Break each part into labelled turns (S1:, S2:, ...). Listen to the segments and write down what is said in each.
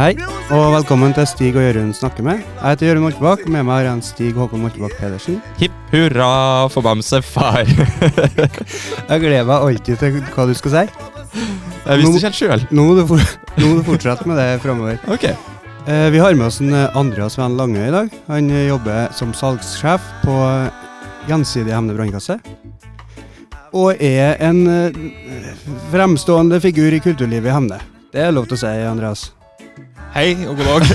S1: Hei, og velkommen til Stig og Jørund snakker med. Jeg heter Jørund Moltebakk, og med meg har jeg en Stig Håkon Moltebakk Pedersen.
S2: Hipp hurra for Bamsefar.
S1: Jeg gleder meg alltid til hva du skal si.
S2: Jeg visste ikke helt sjøl.
S1: Nå må du, for, nå må du fortsette med det framover.
S2: Ok.
S1: Eh, vi har med oss en eh, Andreas Venn Lange i dag. Han eh, jobber som salgssjef på eh, Gjensidige Hemne brannkasse. Og er en eh, fremstående figur i kulturlivet i Hemne. Det er lov til å si, Andreas.
S2: Hei og god dag.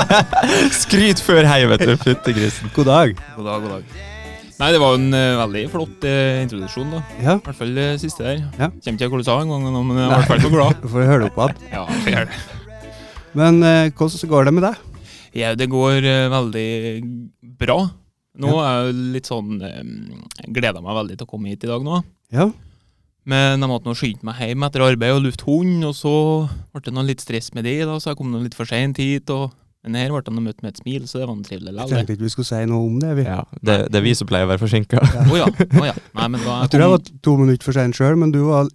S2: Skryt før hei, vet du. Fytti grisen.
S1: God dag.
S3: God dag, god dag. Nei, det var jo en eh, veldig flott eh, introduksjon, da.
S1: Ja,
S3: I hvert fall det siste der.
S1: Ja.
S3: Kjem ikke til hva du sa en gang, men jeg er i hvert fall for glad.
S1: du får høre det opp igjen.
S3: Ja, det gjør det.
S1: Men eh, hvordan går det med deg?
S3: Ja, det går eh, veldig bra. Nå er jeg jo litt sånn eh, Gleda meg veldig til å komme hit i dag nå.
S1: Ja,
S3: Men jeg måtte nå skynde meg hjem etter arbeid og lufte hund, og så ble det noe litt stress med det, da, så jeg kom nå litt for seint hit. og men her ble jeg nå møtt med et smil, så det var nå trivelig
S1: jeg
S3: likevel.
S1: tenkte ikke vi skulle si noe om det. Vi.
S2: Ja, det, det er vi som pleier å være forsinka.
S3: Å ja. å ja. Nei, men da
S1: Jeg tror jeg var to minutter for sein sjøl, men du var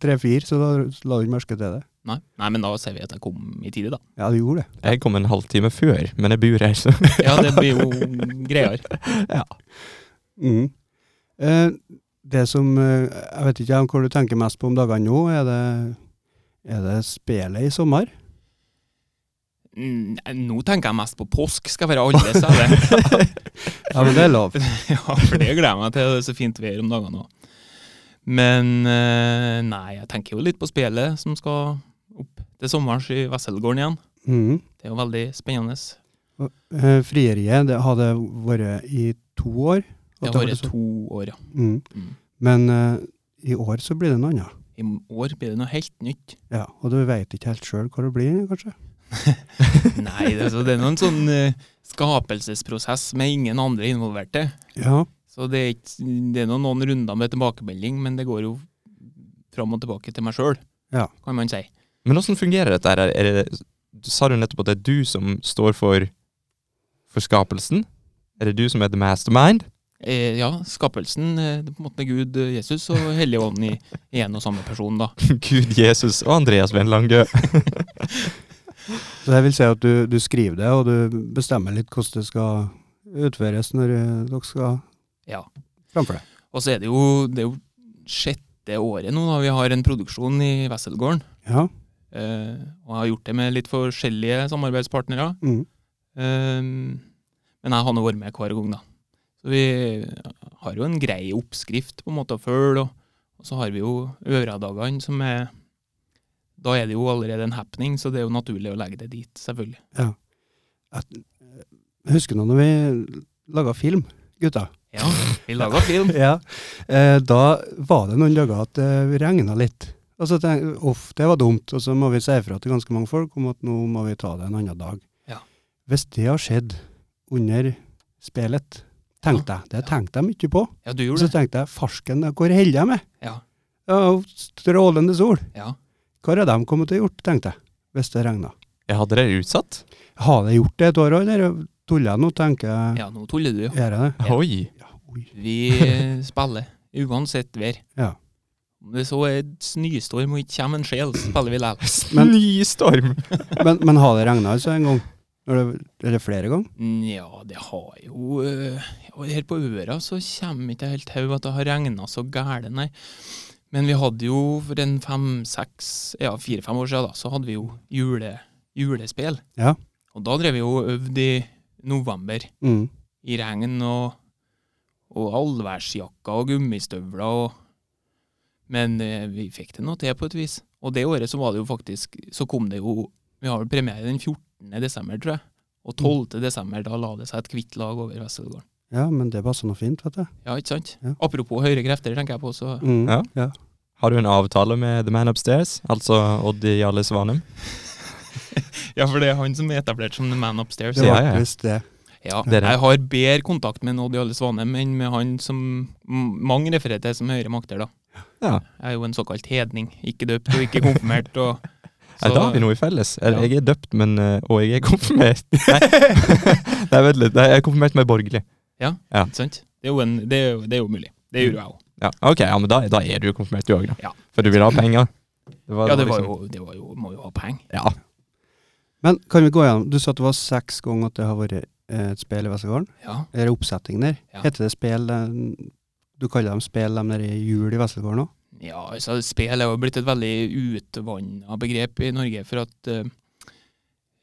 S1: tre-fire, så da la du ikke merke til det.
S3: Nei, nei, men da sier vi at jeg kom i tide, da.
S1: Ja, du gjorde det.
S2: Jeg kom en halvtime før, men jeg bor her, så
S3: Ja, det blir jo greier.
S1: Mm. Eh, det som eh, Jeg vet ikke om hva du tenker mest på om dagene nå. Er det, er det spelet i sommer?
S3: Mm, Nå tenker jeg mest på påsk, skal være alle steder.
S1: Ja, men det er lov.
S3: ja, for det gleder jeg meg til. Det er så fint vær om dagene òg. Men eh, nei, jeg tenker jo litt på spelet som skal opp til sommers i Vesselgården igjen.
S1: Mm.
S3: Det er jo veldig spennende.
S1: Eh, frieriet det hadde vært i to år.
S3: Det har vært to år, ja.
S1: Mm.
S3: Mm.
S1: Men eh, i år så blir det noe annet.
S3: I år blir det noe helt nytt.
S1: Ja, og du veit ikke helt sjøl hva det blir, kanskje?
S3: Nei, det, er så- det er noen sånn eh, skapelsesprosess med ingen andre involverte.
S1: Ja.
S3: Så det er, ikke, det er nå noen runder med tilbakemelding, men det går jo fram og tilbake til meg sjøl,
S1: Ja.
S3: kan man si.
S2: Men åssen fungerer dette her? Er det, du sa du nettopp at det er du som står for for skapelsen? Er det du som er the mastermind?
S3: Eh, ja, skapelsen. Eh, det er på en måte Gud, eh, Jesus og Helligånden i, i en og samme person, da.
S2: Gud, Jesus og Andreas Venn Lange.
S1: Så det vil si at du, du skriver det, og du bestemmer litt hvordan det skal utføres når eh, dere skal
S3: Ja.
S1: framfor det.
S3: Og så er det jo det er jo sjette året nå da vi har en produksjon i Wesselgården.
S1: Ja.
S3: Eh, og jeg har gjort det med litt forskjellige samarbeidspartnere.
S1: Mm.
S3: Eh, men jeg har nå vært med hver gang, da. Så vi har jo en grei oppskrift på en måte å følge, og, og så har vi jo øredagene som er Da er det jo allerede en happening, så det er jo naturlig å legge det dit, selvfølgelig.
S1: eh, Husker du når vi laga film, gutta?
S3: Ja, vi lager film.
S1: Ja. Eh, da var det noen dager at det regna litt. Og så tenkte jeg uff, det var dumt. Og så må vi si ifra til ganske mange folk om at nå må vi ta det en annen dag.
S3: Ja.
S1: Hvis det har skjedd under spelet, tenkte jeg. Det tenkte jeg mye på.
S3: Ja, du
S1: Og
S3: gjorde
S1: så
S3: det.
S1: tenkte jeg farsken, hvor holder jeg med?
S3: Ja.
S1: Ja, og strålende sol.
S3: Ja.
S1: Hva har de kommet til å gjort, tenkte jeg. Hvis det regna.
S2: Jeg hadde dere utsatt?
S1: Har det gjort det et år òg, eller tuller jeg nå, tenker jeg.
S3: ja, nå tuller du.
S1: Gjør jeg det?
S3: Ja.
S2: Oi.
S1: Ja, oi.
S3: Vi spiller uansett vær.
S1: Ja.
S3: Om det så er et snøstorm og ikke kommer en sjel, så spiller vi likevel.
S1: Men-
S2: Snøstorm!
S1: Men, men har det regna altså en gang? Eller, eller flere ganger?
S3: Nja, det har jo øh, ja, Her på øra så kommer ikke jeg helt til at det har regna så gæle, nei. Men vi hadde jo for en fem-seks, ja fire-fem år siden, da, så hadde vi jo jule, julespill.
S1: Ja.
S3: Og da drev vi jo og øvde i november.
S1: Mm.
S3: i regn og, og allværsjakker og gummistøvler. Og, men eh, vi fikk det nå til på et vis. Og det året så var det jo faktisk Så kom det jo Vi har vel premiere den 14. desember, tror jeg.
S1: Mm.
S3: Og 12. desember, da la det seg et hvitt lag over Vesterdalen.
S1: Ja, men det passer noe fint, vet du.
S3: Ja, ikke sant?
S1: Ja.
S3: Apropos høyre krefter, tenker jeg på. Så
S1: Mm.
S2: Ja. Har du en avtale med The Man Upstairs, altså Odd Jarle Svanem?
S3: Ja, for det er han som er etablert som the man upstairs.
S1: Det
S2: Ja,
S1: var
S2: ja, ja.
S1: visst det.
S3: Ja,
S2: Dere-
S3: jeg har bedre kontakt med Odd Jarle Svanem enn med han som m- mange refererer til som høyere makter, da.
S2: Ja.
S3: Jeg er jo en såkalt hedning. Ikke døpt og ikke konfirmert. Og,
S2: Ja, da har vi noe i felles. Eller,
S3: Ja.
S2: Jeg er døpt, men øh, Og jeg er konfirmert. Nei, Nei vent litt. Nei, jeg er konfirmert med borgerlig.
S3: Ikke sant? Det er jo, en, det er jo, det er jo mulig. Det gjorde jeg òg.
S2: Ja, ok, ja, men da, da er du jo konfirmert, du òg, da.
S3: Ja.
S2: For du vil ha penger. Det var,
S3: Ja, det var jo,
S2: liksom-
S3: det var jo, må jo ha penger.
S2: Ja.
S1: Men kan vi gå gjennom Du sa at det var seks ganger at det har vært eh, et spel i Vestgården.
S3: Ja.
S1: Eller oppsetting der.
S3: Ja.
S1: Heter det spel eh, Du kaller dem spel, de der i jul i Vestgården òg?
S3: ja, altså spel er jo blitt et veldig utvanna begrep i Norge, for at eh,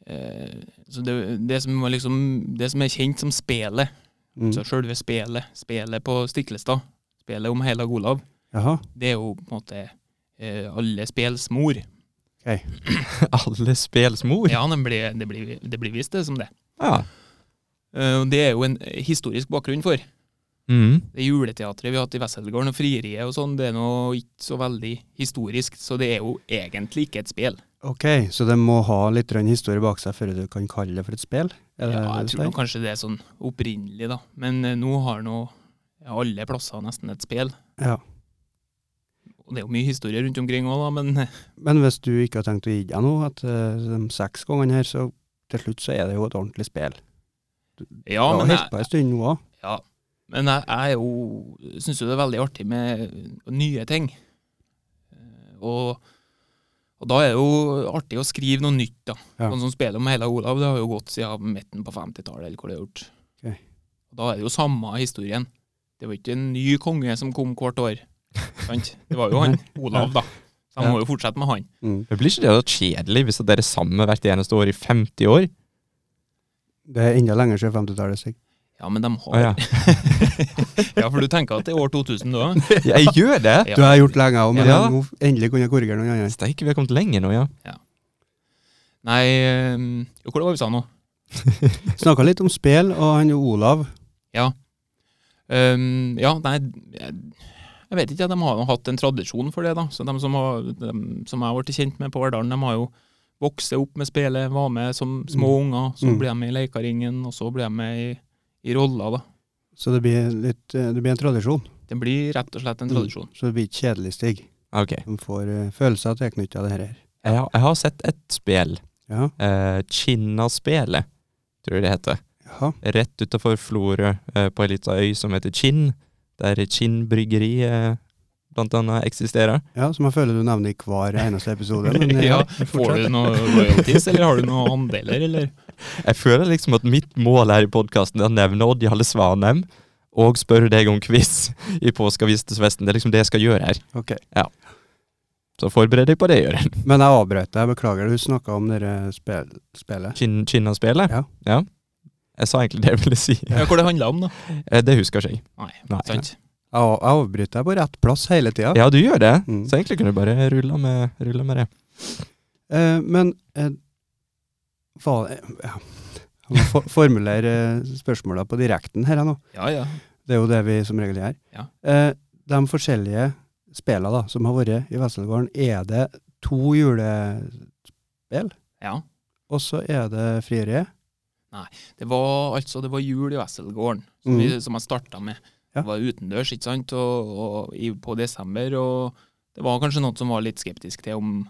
S3: eh, så det, det, som var liksom, det som er kjent som spelet,
S1: Mm.
S3: så selve spelet, spelet på Stiklestad, spelet om Heilag Olav,
S1: Jaha.
S3: det er jo på en måte eh, alle spels mor.
S2: Alle spels mor?
S3: Ja, det blir, det, blir, det blir vist det som det.
S2: Ja.
S3: Eh, og det er jo en eh, historisk bakgrunn for.
S2: Mm.
S3: Det juleteatret vi har hatt i Wesselgården og Frieriet og sånn, det er nå ikke så veldig historisk, så det er jo egentlig ikke et spel.
S1: Ok, så det må ha litt grann historie bak seg før du kan kalle det for et spel? Er det
S3: Ja, jeg
S1: det du
S3: tror
S1: sier?
S3: nok kanskje det er sånn opprinnelig, da. Men eh, nå har nå alle plasser nesten et spel.
S1: Ja.
S3: Og det er jo mye historie rundt omkring òg, da, men eh,
S1: Men hvis du ikke har tenkt å gi deg nå, at eh, de seks gangene her, så til slutt så er det jo et ordentlig spel.
S3: ja.
S1: det har
S3: Men
S1: holdt
S3: jeg,
S1: på en stund nå òg.
S3: ja. men jeg, jeg er jo syns jo det er veldig artig med eh, nye ting. Eh, Og, og da er det jo artig å skrive noe nytt, da.
S1: Ja.
S3: Sånn som spillet om Heila Olav, det har jo gått siden midten på 50-tallet, eller hvor det er gjort.
S1: Ok.
S3: Og da er det jo samme historien. Det var ikke en ny konge som kom hvert år. Sant? Det var jo han Olav, da. Så han må jo fortsette med han.
S1: Mm.
S2: Men Blir ikke det litt kjedelig hvis dere er sammen hvert eneste år i 50 år?
S1: Det er enda lenger siden 50-tallet. Stig.
S3: Ja, men de har
S2: Å ja.
S3: Ja, for du tenker at det er år 2000 da?
S2: Jeg gjør det!
S3: Ja.
S1: Du har gjort lenge òg, men
S2: Ja.
S1: nå endelig kunne jeg korrigere noen andre.
S2: Steike, vi har kommet lenger nå, ja.
S3: Nei ehm, Jo, hvor var vi sa nå?
S1: Snakka litt om spill, og han Olav
S3: Ehm, ja, nei Jeg, jeg vet ikke, de har jo hatt en tradisjon for det, da. Så de som, har, de som jeg ble kjent med på Verdalen, de har jo vokst opp med spillet, var med som små unger. Så
S1: Mm.
S3: ble de med i Leikaringen, og så ble de med i, i roller, da.
S1: Så det blir, litt, eh, det blir en tradisjon.
S3: Det blir rett og slett en
S1: Mm.
S3: tradisjon.
S1: Så det blir ikke kjedelig, Stig.
S2: Ok.
S1: De får eh, følelser tilknyttet det her.
S2: Jeg har, jeg har sett et spill.
S1: Ja.
S2: Eh, Kinnaspelet, tror jeg det heter.
S1: Jaha.
S2: Rett utafor Florø, eh, på ei lita øy som heter Kinn. Der Kinn bryggeri eh, blant annet eksisterer.
S1: ja, som jeg føler du nevner i hver eneste episode. Men, eh,
S3: Ja, Får du noe royalties, eller har du noen andeler, eller?
S2: Jeg føler liksom at mitt mål her i podkasten er å nevne Odd Jalle Svanheim og spørre deg om quiz i påskeavisnesvesten. Det er liksom det jeg skal gjøre her.
S1: Ok.
S2: Ja. Så forbered deg på det, Jørgen.
S1: men jeg avbrøt deg, beklager. Du snakka om det spil spillet.
S2: Kinn- Kinnaspelet?
S1: Ja.
S2: ja. Jeg sa egentlig det jeg ville si.
S3: Ja, Hva det handla om, da?
S2: Eh, Det husker ikke jeg.
S3: Nei, Sånn.
S2: Nei.
S3: sant?
S1: Jeg av- jeg avbryter deg på rett plass hele tida.
S2: Ja, du gjør det.
S1: Mm.
S2: Så egentlig kunne du bare rulla med, rulla med det.
S1: Eh, men eh, fa- eh, ja. Jeg må for formulere eh, spørsmåla på direkten her jeg nå.
S3: Ja, ja.
S1: Det er jo det vi som regel gjør.
S3: Ja.
S1: Eh, de forskjellige spela da, som har vært i Vesselgården, er det to julespill,
S3: ja.
S1: og så er det frieriet?
S3: Det var altså det var jul i Wesselgården, som,
S1: Mhm.
S3: vi- som jeg starta med.
S1: Ja.
S3: Det var utendørs ikke sant, og, og, i, på desember, og det var kanskje noen som var litt skeptisk til om,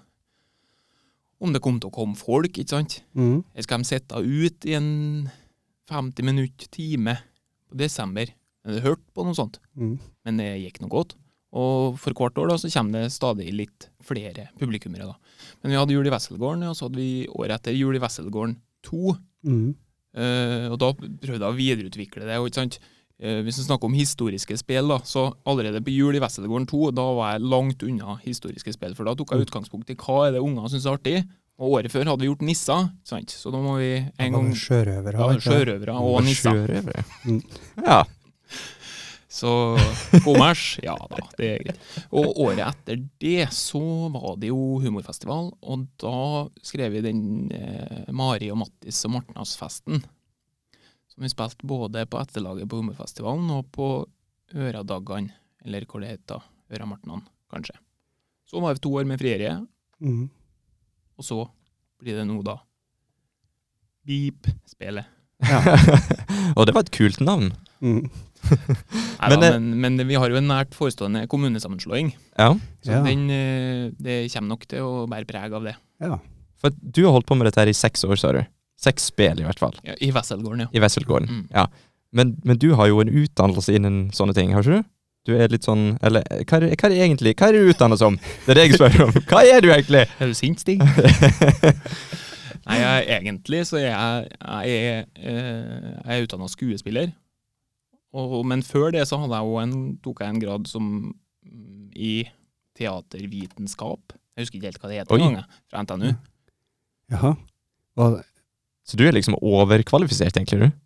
S3: om det kom til å komme folk. ikke sant?
S1: Mm.
S3: Eller skal de sitte ut i en 50 minutt, time, på desember? Men Jeg hørte på noe sånt,
S1: Mm.
S3: men det gikk nå godt. Og for hvert år da, så kommer det stadig litt flere publikummere. da. Men vi hadde jul i Wesselgården, og så hadde vi året etter jul i Wesselgården 2.
S1: Mm.
S3: Eh, og da prøvde jeg å videreutvikle det. og ikke sant? Eh, hvis vi snakker om historiske spill, da, så allerede på jul i Wesselgården 2 da var jeg langt unna historiske spill. For da tok
S1: Mm.
S3: jeg utgangspunkt i hva er det unger syns er artig. Og året før hadde vi gjort nisser, ikke sant? så da må vi
S1: Da
S3: en
S1: var
S3: gang
S1: det Sjørøver
S3: ja,
S1: har vært det.
S3: Sjørøvere og nisser.
S2: Sjørøvere.
S1: Mm.
S2: Ja.
S3: Så kommers, ja da, det er greit. Og året etter det så var det jo humorfestival, og da skrev vi den eh, Mari og Mattis og Martnasfesten. Som vi spilte både på etterlaget på humorfestivalen og på Øradaggan, eller hvor det heter. Øra Martnan, kanskje. Så var det to år med frieriet,
S1: Mm.
S3: og så blir det nå, da. Beep-spelet.
S2: og det var et kult navn.
S1: Mm.
S3: Men,
S2: Men, eh,
S3: men, men vi har jo en nært forestående kommunesammenslåing.
S2: Ja.
S3: Så
S1: Ja.
S3: den, eh, det kommer nok til å bære preg av det.
S1: ja.
S2: For at du har holdt på med dette her i seks år, sa du. Seks spill, i hvert fall.
S3: Ja, I Wesselgården, ja.
S2: I Wesselgården.
S3: Mm.
S2: Men, men du har jo en utdannelse innen sånne ting, har ikke du? Du er litt sånn Eller eh, hva er, hva er det egentlig Hva er du utdannet som? Det er det jeg spør om. Hva er du egentlig?
S3: Er du sint, Stig? Nei, jeg, egentlig så er jeg, jeg, er, eh, jeg er utdanna skuespiller. Og, men før det så hadde jeg også en, tok jeg en grad som mm, i teatervitenskap. Jeg husker ikke helt hva det het
S2: Oi.
S3: engang, jeg, fra NTNU.
S1: Jaha. Hva-
S2: Så du er liksom overkvalifisert, egentlig, du?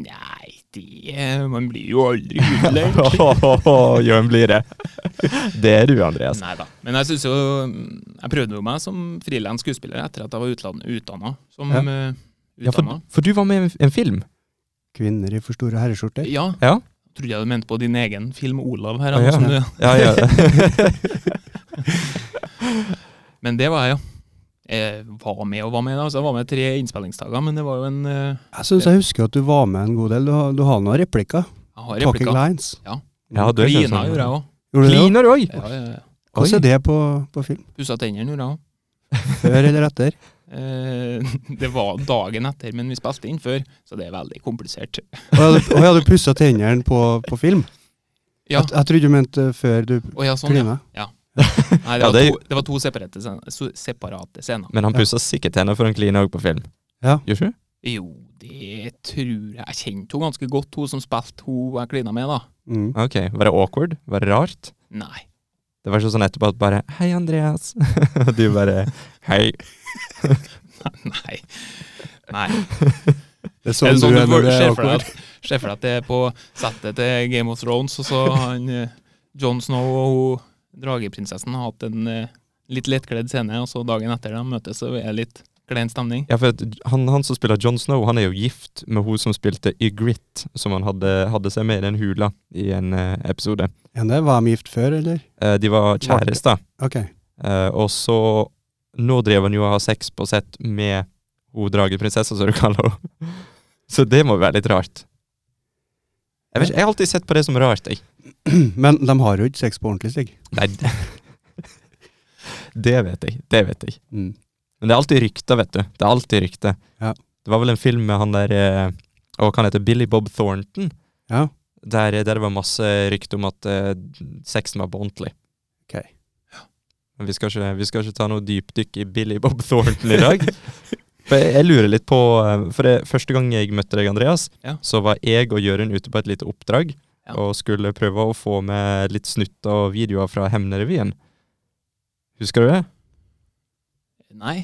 S3: Nei, det eh, Man blir jo aldri utlært.
S2: Jørn blir det. Det er du, Andreas.
S3: Nei da. Men jeg synes jo mm, Jeg prøvde jo meg som frilans skuespiller etter at jeg var utland- utdanna som
S1: Ja.
S3: eh,
S2: Ja, for,
S3: utdanna.
S2: for du var med i en, en film.
S1: Kvinner i for store herreskjorter.
S3: Ja,
S2: Ja.
S3: Trodde jeg du mente på din egen film, Olav, her.
S2: Å, ja.
S3: Som du,
S2: Ja, ja.
S3: Men det var jeg, ja. Jeg var med og var med, da. Så jeg var med tre innspillingsdager, men det var jo en eh,
S1: Jeg syns jeg husker at du var med en god del. Du har, du har noen replikker.
S3: Jeg har
S1: Talking
S3: replikker.
S1: lines.
S2: ja det
S1: altså.
S2: skjønner
S3: Klina gjorde jeg òg.
S1: Gjorde du det? også?
S2: Kliner du òg?
S3: Ja, ja, ja.
S1: Hvordan er det på, på film?
S3: Pussa tennene gjorde jeg òg.
S1: Før eller etter?
S3: Eh, det var dagen etter, men vi spilte inn før, så det er veldig komplisert.
S1: Og jeg hadde, og jeg hadde pussa tennene på, på film?
S3: Ja.
S1: Jeg, jeg trodde du mente før du
S3: Å ja, sånn, ja.
S1: klina.
S3: Nei, det,
S2: Ja,
S3: var
S2: det-
S3: to, det var to separate, sen- so- separate scener.
S2: Men han
S1: Ja.
S2: pussa sikkert tenner for han klina òg på film.
S1: Ja.
S2: Gjør ikke du?
S3: Jo, det tror jeg Jeg kjente henne ganske godt, hun som spilte hun jeg klina med, da.
S1: Mm.
S2: Ok, Var det awkward? Var det rart?
S3: Nei.
S2: Det var ikke sånn etterpå at bare 'Hei, Andreas'. Og du bare 'Hei'.
S3: Nei. Nei.
S1: Det er
S3: Er
S1: sånn,
S3: det sånn
S1: du er når
S3: du
S1: du er
S3: ser for deg
S1: awkward.
S3: at, ser for deg at det er på settet til Game of Thrones, og så har han eh, Jon Snow og hun, drageprinsessen har hatt en eh, litt lettkledd scene, og så dagen etter de møtes, så er det litt klein stemning.
S2: Ja, for at han, han som spiller John Snow, han er jo gift med hun som spilte Ygritte, som han hadde, hadde seg med i den hula i en eh, episode.
S1: Ja, det var de gift før, eller?
S2: Eh, de var kjærester.
S1: Ok.
S2: Eh, og så Nå drev han jo og har sex på sett med hun drageprinsessa, som du kaller henne. Så det må være litt rart. Jeg, vet, ikke, jeg har alltid sett på det som rart, jeg.
S1: Men de har jo ikke sex på ordentlig, Stig.
S2: Nei, det, det vet jeg. Det vet jeg.
S1: Mm.
S2: Men det er alltid rykter, vet du. Det er alltid rykter.
S1: Ja.
S2: Det var vel en film med han der eh, Å, hva han heter Billy Bob Thornton?
S1: Ja.
S2: Der, der det var masse rykter om at eh, sexen var på ordentlig.
S1: Ok.
S2: Men vi skal, ikke, vi skal ikke ta noe dypdykk i Billy Bob Thornton i dag. For jeg, jeg lurer litt på eh, For det, første gang jeg møtte deg, Andreas,
S3: Ja.
S2: så var jeg og Jørund ute på et lite oppdrag
S3: Ja.
S2: og skulle prøve å få med litt snutter og videoer fra Hemnerevyen. Husker du det?
S3: Nei.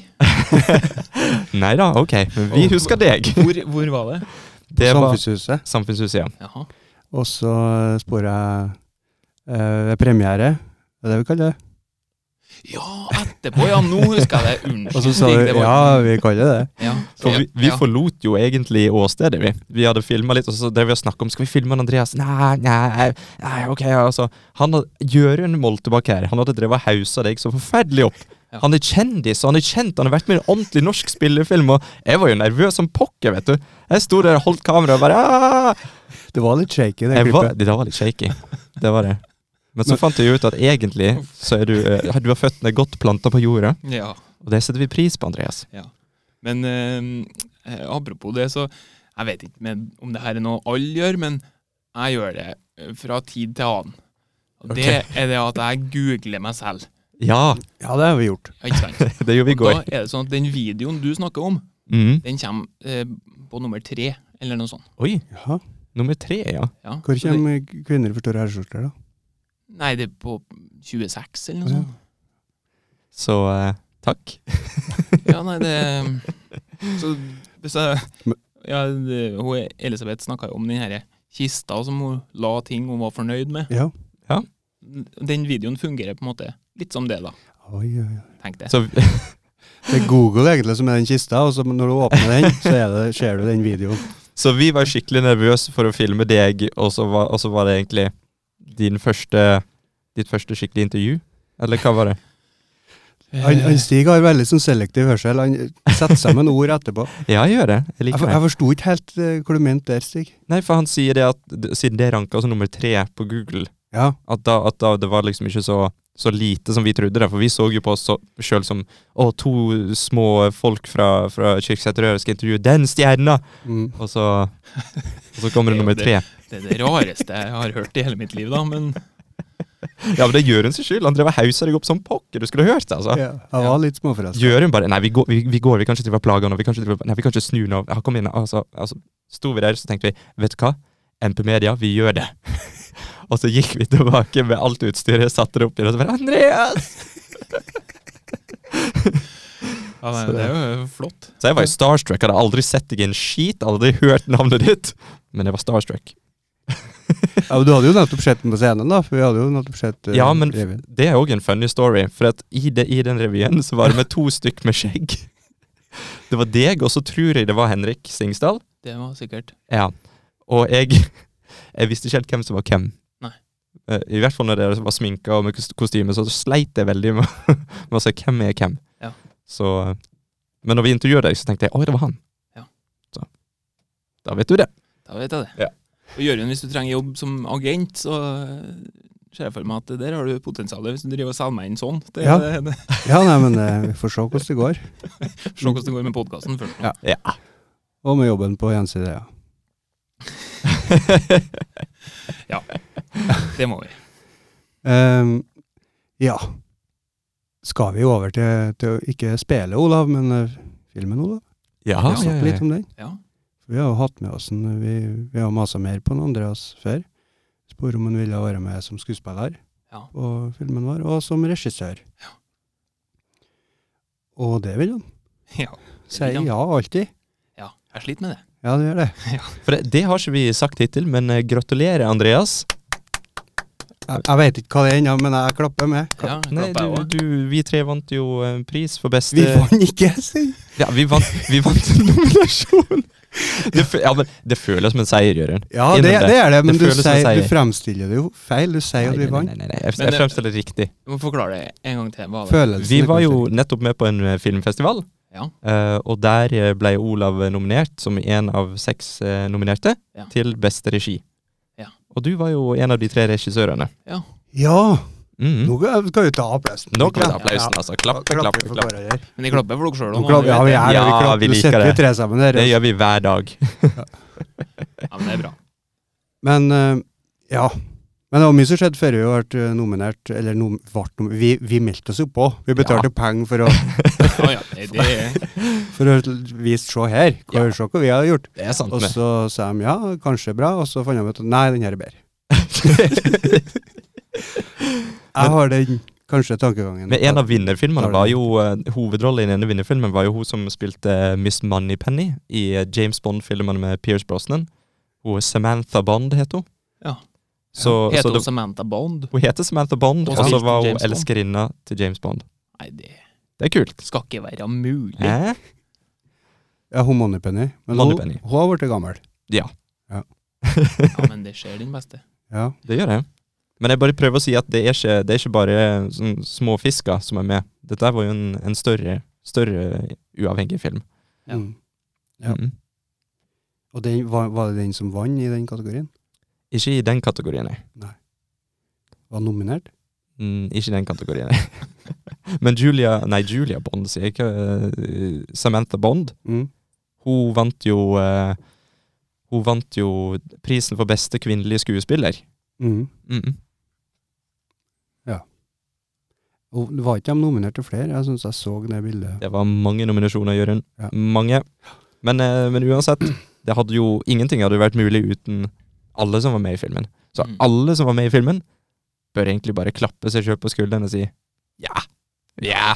S2: Nei da, ok. Men vi husker deg.
S3: Hvor, hvor var det?
S2: Det var
S1: Samfunnshuset.
S2: Samfunnshuset, ja.
S3: Jaha.
S1: Og så eh, spår jeg eh, premiere. Det er det vi kaller det.
S3: Ja, etterpå, ja. Nå husker jeg det. Unnskyld.
S1: Og så sa
S3: Stig,
S1: du
S3: det var-
S1: ja, vi kaller det det.
S3: ja.
S2: For vi, vi
S3: ja.
S2: forlot jo egentlig åstedet, vi. Vi hadde filma litt, og så drev vi og snakka om skal vi filme han Andreas. Nei, nei, nei, ok, altså. Han hadde, Jørund Moltebakk her, han hadde drevet og hausa deg så forferdelig opp.
S3: Ja.
S2: Han er kjendis, og han er kjent, han har vært med i en ordentlig norsk spillefilm, og jeg var jo nervøs som pokker, vet du. Jeg sto der og holdt kameraet og bare «Ah!»
S1: Det var litt shaky, det
S2: jeg var,
S1: klippet.
S2: Det var litt shaky. Det var det. Men så
S1: Men-
S2: fant jeg ut at egentlig så er du, eh, du har føttene godt planta på jorda,
S3: ja.
S2: og det setter vi pris på, Andreas.
S3: Men eh, eh, apropos det, så jeg vet ikke med, om det her er noe alle gjør, men jeg gjør det eh, fra tid til annen. Og det er det at jeg googler meg selv.
S2: Ja,
S1: Ja, det har vi gjort.
S3: Ja, Ikke sant?
S2: det gjorde vi
S3: Da
S2: i går.
S3: er det sånn at den videoen du snakker om,
S2: Mm.
S3: den kommer eh, på nummer tre, eller noe sånt.
S2: Oi,
S1: Jaha.
S2: nummer tre, ja.
S3: Ja.
S1: Hvor
S3: så det-
S1: kommer kvinner i for store herreskjorter, da?
S3: Nei, det er på 26, eller noe
S1: Ja.
S3: sånt.
S2: Så eh, takk.
S3: Ja, nei, det eh, Så hvis jeg
S1: Men-
S3: ja, det, hun, Elisabeth snakka jo om den her kista som hun la ting hun var fornøyd med.
S1: Ja.
S3: Den videoen fungerer på en måte litt som det, da.
S1: Oi, oi, oi.
S3: Tenk det.
S2: Så,
S1: Det er Google egentlig som er den kista, og så når du åpner den, så er det, ser du den videoen.
S2: så vi var skikkelig nervøse for å filme deg, og så var, og så var det egentlig din første, ditt første skikkelig intervju? Eller hva var det?
S3: Eh,
S1: Han, han Stig har veldig sånn selektiv hørsel. Han setter sammen ord etterpå.
S2: Ja, jeg gjør det. Jeg
S1: Jeg,
S2: liker
S1: for-
S2: det.
S1: jeg forsto ikke helt eh, hva du mente der, Stig.
S2: Nei, for han sier det at d- siden det ranka som nummer tre på Google,
S1: Ja,
S2: at da, at da det var liksom ikke så, så lite som vi trodde det, for vi så jo på oss så- sjøl som å, to små folk fra, fra Kyrksæterøra skal intervjue den stjerna!
S1: mm.
S2: Og så, og så kommer det nummer tre.
S3: Det er det rareste jeg har hørt i hele mitt liv, da, men
S2: Ja, men det gjør hun sin skyld. Han drev og hausa deg opp som pokker. Du skulle hørt det, altså.
S1: Ja, jeg var litt småforelska.
S2: Gjør hun bare Nei, vi går, vi, vi går, vi kan ikke drive og plage han, og vi kan ikke, drive, og- nei, vi kan ikke snu nå. Ja, kom inn. Altså, altså, sto vi der, så tenkte vi, vet du hva? MP Media, vi gjør det. og så gikk vi tilbake med alt utstyret, satte det opp igjen, og så bare Andreas!
S3: Ja, nei,
S2: Så-
S3: det er jo flott.
S2: Så jeg var jo starstruck. Hadde aldri sett deg i en skit, aldri hørt navnet ditt. Men jeg var starstruck.
S1: Ja, men du hadde jo nettopp sett den på scenen, da. For vi hadde jo nettopp sett eh,
S2: Ja, men
S1: revyen.
S2: Det er òg en funny story, for at i, det, i den revyen så var det med to stykk med skjegg. Det var deg, og så tror jeg det var Henrik Singsdal.
S3: Det var sikkert.
S2: Ja, og jeg, jeg visste ikke helt hvem som var hvem.
S3: Nei.
S2: Eh, I hvert fall når det var sminka og med kos- kostyme, så sleit jeg veldig med, med å se hvem er hvem.
S3: Ja.
S2: Så, eh, men når vi intervjuet deg, så tenkte jeg oi, det var han.
S3: Ja.
S2: Så, da vet du det.
S3: Da vet jeg det.
S2: Ja.
S3: Og Jørund, hvis du trenger jobb som agent, så eh, ser jeg for meg at der har du potensialet, hvis du driver og selger meg inn sånn. Det,
S1: Ja.
S3: det, det.
S1: Ja, nei, men eh, vi får se hvordan det går.
S3: Se hvordan det går med podkasten først.
S1: Ja. Og med jobben på NCD, ja.
S3: Det må vi.
S1: Ehm, ja. Skal vi over til, til å ikke spille Olav, men eh, filmen Olav?
S2: Ah, Ja,
S1: Vi snakker litt om den.
S3: Ja.
S1: Vi har jo hatt med oss en, eh, vi, vi har masa mer på en Andreas før. Spør om han ville være med som skuespiller
S3: Ja.
S1: på filmen vår, og som regissør. Og det vil han.
S3: Ja,
S1: Sier
S3: vil han.
S1: ja alltid.
S3: ja. Jeg sliter med det.
S1: Ja, det gjør det.
S2: For det, det har ikke vi sagt hittil, men eh, gratulerer, Andreas.
S1: Jeg, jeg veit ikke hva det er ennå, men jeg klapper med.
S3: Ja, jeg
S2: Nei,
S3: klapper jeg
S2: du,
S3: også.
S2: du, vi tre vant jo eh, pris for beste
S1: Vi vant ikke, si!
S2: Ja, vi vant, vi vant en nominasjon! Det, fø- ja, men det føles som en seier, Jørund.
S1: Ja,
S2: Innrøm
S1: det,
S2: det.
S1: det er det, men
S2: Det
S1: du,
S2: føles som
S1: sier,
S2: seier.
S1: du fremstiller det jo feil. Du sier at
S2: Nei,
S1: vi
S2: nei,
S1: vant.
S2: nei, nei, nei.
S3: Men
S2: Jeg,
S3: eh,
S2: jeg
S3: det-
S2: fremstiller det riktig.
S3: Du må forklare det en gang til. Hva det?
S1: Følelsen
S2: Vi
S1: er
S2: var jo
S1: kanskje-
S2: nettopp med på en eh, filmfestival,
S3: Ja.
S2: eh, og der eh, ble Olav nominert som en av seks eh, nominerte
S3: Ja.
S2: til beste regi.
S3: Ja.
S2: Og du var jo en av de tre regissørene.
S1: Ja!
S2: Mhm.
S1: Nå skal skal vi ta applausen.
S2: Nå kommer
S1: Ja.
S2: applausen, altså. Klappe,
S1: Klapper
S2: klappe,
S1: for
S2: klappe.
S1: gårde her.
S3: Men jeg klapper for dere sjøl.
S1: Nå klapper- Ja, vi er det. Vi
S2: Ja,
S1: klapper.
S2: vi
S1: Nå
S2: liker
S1: sitter vi
S2: det.
S1: tre sammen her.
S2: Det gjør vi hver dag.
S3: ja, men det er bra.
S1: Men eh, ja. Men det var mye som skjedde før vi ble eh, nominert. Eller nom vart nom vi, vi meldte oss jo på. Vi betalte penger for å,
S3: Ja, ja, det, det,
S1: for å vise se her. Hva,
S2: Ja.
S1: Se hva vi har gjort.
S2: Det er sant.
S1: Og så sa de ja, kanskje bra. Og så fant de ut at nei, den her er bedre.
S2: Med.
S1: Jeg har den kanskje tankegangen.
S2: Men en av vinnerfilmene
S1: Tar det.
S2: var jo eh, Hovedrollen i den ene vinnerfilmen var jo hun som spilte eh, Miss Moneypenny i eh, James Bond-filmen med Pierce Brosnan. Hun er Samantha Bond, heter hun.
S3: Ja.
S2: Så, så
S3: Heter
S2: det,
S3: hun Samantha Bond?
S2: hun heter Samantha Bond,
S3: Hun
S2: og så
S3: spilte
S2: var hun
S3: James Bond.
S2: elskerinna til James Bond.
S3: Nei, det
S2: Det er kult.
S3: skal ikke være mulig.
S2: Hæ?
S1: Ja, hun Moneypenny. Men hun,
S2: Moneypenny.
S1: hun har blitt gammel.
S3: Ja, men det skjer den beste.
S1: Ja.
S2: Det gjør jeg. Men jeg bare prøver å si at det er ikke, det er ikke bare sånn små fisker som er med. Dette var jo en, en større, større uavhengig film.
S3: Ja.
S1: Mm. Ja.
S2: Mhm.
S1: Og den, var, var det den som vant i den kategorien?
S2: Ikke i den kategorien, nei.
S1: Var nominert?
S2: Mm, ikke den kategorien. Men Julia Nei, Julia Bond, sier jeg ikke. eh, Samantha Bond.
S1: Mm.
S2: Hun vant jo eh, Hun vant jo prisen for beste kvinnelige skuespiller.
S1: Mm.
S2: Mm.
S1: Og det var ikke de nominert til flere? Jeg syns jeg så det bildet.
S2: Det var mange nominasjoner, Jørund.
S1: Ja.
S2: Mange. Men, eh, men uansett, det hadde jo ingenting hadde jo vært mulig uten alle som var med i filmen. Så
S3: Mm.
S2: alle som var med i filmen, bør egentlig bare klappe seg sjøl på skulderen og si ja. Ja.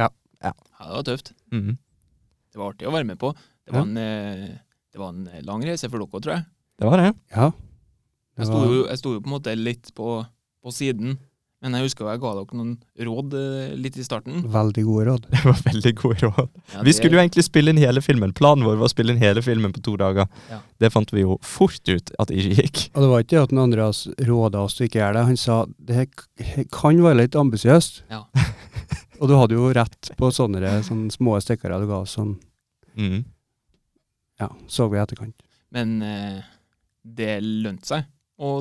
S3: Ja, det var tøft.
S2: Mm.
S3: Det var artig å være med på. Det var en, eh, det var en lang reise for dere, tror jeg.
S2: Det var det.
S1: Ja. Det
S3: Jeg sto,
S1: var-
S3: jo, jeg sto jo på en måte litt på, på siden, men jeg husker jo jeg ga dere noen råd eh, litt i starten.
S1: Veldig gode råd.
S2: Det var veldig gode råd.
S3: Ja,
S2: Vi
S3: det-
S2: skulle jo egentlig spille inn hele filmen. Planen vår var å spille inn hele filmen på to dager.
S3: Ja.
S2: Det fant vi jo fort ut at det ikke gikk.
S1: Og det var ikke det at den Andreas råda oss til ikke gjøre det. Han sa det her k- kan være litt ambisiøst.
S3: Ja.
S1: og du hadde jo rett på sånne, sånne små stikkere du ga oss sånn.
S2: Mm.
S1: Ja, så vi i etterkant.
S3: Men eh, det lønte seg å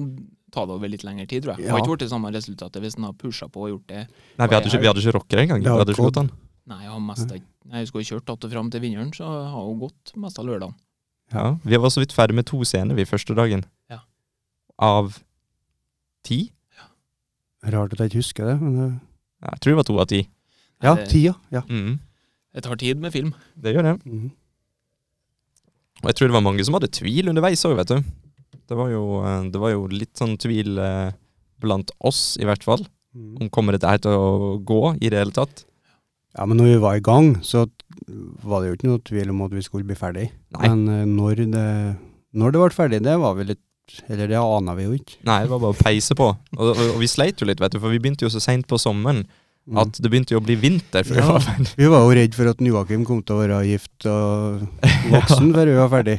S3: ta det over litt lengre tid, tror jeg. Det
S1: Ja.
S3: hadde ikke blitt det samme resultatet hvis en hadde pusha på og gjort det.
S2: Nei, vi hadde ikke, vi hadde ikke rocker engang. Vi
S1: Det var
S2: hadde ikke gått an.
S3: Nei, jeg har mest Nei, jeg skulle ha kjørt att og fram til vinneren, så jeg har hun gått mest av lørdagen.
S2: Ja, vi var så vidt ferdig med to scener vi første dagen.
S3: Ja.
S2: Av ti?
S1: Rart at jeg ikke husker det, men det-
S2: Ja, Jeg tror det var to av ti.
S1: Ja,
S3: det,
S1: tida. Ja.
S2: Mhm.
S3: det tar tid med film.
S2: Det gjør det.
S1: Mhm.
S2: Og jeg tror det var mange som hadde tvil underveis òg, vet du. Det var, jo, eh, det var jo litt sånn tvil eh, blant oss, i hvert fall,
S1: Mhm.
S2: om kommer dette her til å gå i det hele tatt.
S1: Ja, men når vi var i gang, så var det jo ikke noe tvil om at vi skulle bli ferdig.
S2: Nei,
S1: Men eh, når det, når det ble ferdig, det var vi litt Eller det ana vi jo ikke.
S2: nei det var bare å peise på. Og, og, og vi sleit jo litt, vet du, for vi begynte jo så seint på sommeren
S1: Mm.
S2: at det begynte jo å bli vinter før vi
S1: Ja.
S2: var ferdig.
S1: Vi var jo redd for at Joakim kom til å være gift og voksen før vi var ferdig.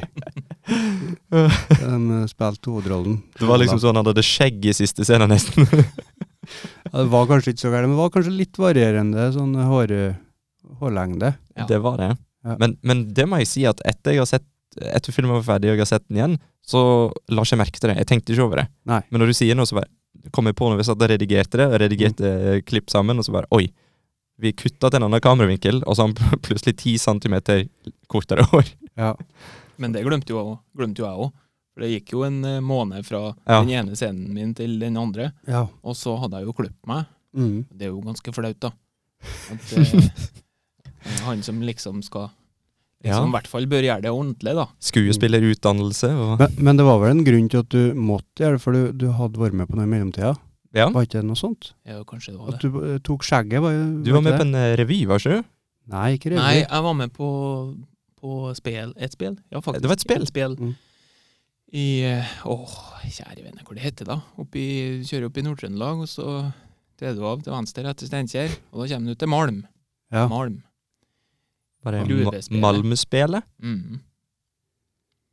S1: De eh, spilte hovedrollen.
S2: Det var liksom sånn han hadde skjegg i siste scene, nesten.
S1: Ja, det var kanskje ikke så gærent, men det var kanskje litt varierende sånn hår, hårlengde.
S3: Ja.
S2: Det var det.
S1: Ja.
S2: Men, men det må jeg si at etter jeg har sett etter filmen var ferdig og jeg har sett den igjen, så la ikke jeg merke til det. Jeg tenkte ikke over det.
S1: Nei.
S2: Men når du sier noe, så bare kom jeg på når vi satt og redigerte det, og redigerte
S1: Mm.
S2: klipp sammen, og så bare oi. Vi kutta til en annen kameravinkel, og så har han pl- plutselig ti centimeter kortere hår.
S1: Ja.
S3: Men det glemte jo, glemte jo jeg òg. For det gikk jo en eh, måned fra
S2: Ja.
S3: den ene scenen min til den andre.
S1: ja.
S3: Og så hadde jeg jo klippet meg.
S1: Mm.
S3: Det er jo ganske flaut, da. At eh, han som liksom skal
S2: Ja.
S3: Som i hvert fall bør gjøre det ordentlig, da.
S2: Skuespillerutdannelse og
S1: Men, men det var vel en grunn til at du måtte gjøre det, for du, du hadde vært med på noe i mellomtida?
S2: Ja.
S1: Var ikke det noe sånt?
S3: Ja, kanskje det var
S1: At
S3: det.
S1: du eh, tok skjegget? Var,
S2: Du var med på en eh, revy, var ikke du?
S1: Nei, ikke revy.
S3: Nei, jeg var med på, på spel, et spel. Ja, faktisk.
S2: Det var et spill.
S1: Mm.
S3: I eh, Åh, kjære vene, hvor det heter da? Oppi, kjører opp i Nord-Trøndelag, og så drar du av til venstre etter Steinkjer. Og da kommer du til Malm.
S1: Ja.
S3: Malm.
S2: Bare
S3: Gruvespelet.
S2: Ma- Malmøspelet.
S3: Mm.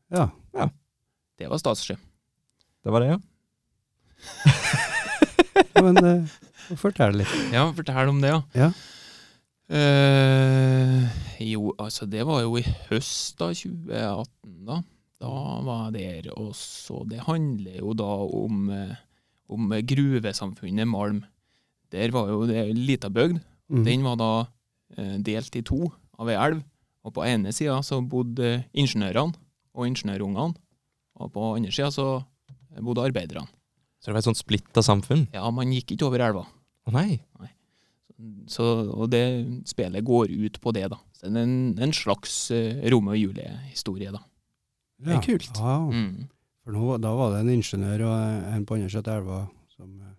S1: Ja.
S3: Det var statsskip.
S2: Det var det, ja.
S1: ja, men eh, fortell litt.
S3: Ja, fortell om det, ja.
S1: Ja.
S3: Eh, jo, altså det var jo i høst da, 2018 da. Da var jeg der, og så det handler jo da om, eh, om gruvesamfunnet Malm. Der var jo det en lita bygd.
S1: Mm.
S3: Den var da eh, delt i to av ei elv. Og på ene sida så bodde ingeniørene og ingeniørungene. Og på andre sida så bodde arbeiderne.
S2: Så det var et sånt splitta samfunn.
S3: Ja, man gikk ikke over elva.
S2: Å nei.
S3: Så, og det spillet går ut på det, da. Så det er en, en slags eh, Romeo og Julie-historie, da.
S2: Det er kult.
S1: Ja.
S3: Mm.
S1: For nå, da var det en ingeniør og en på andre siden av elva som eh,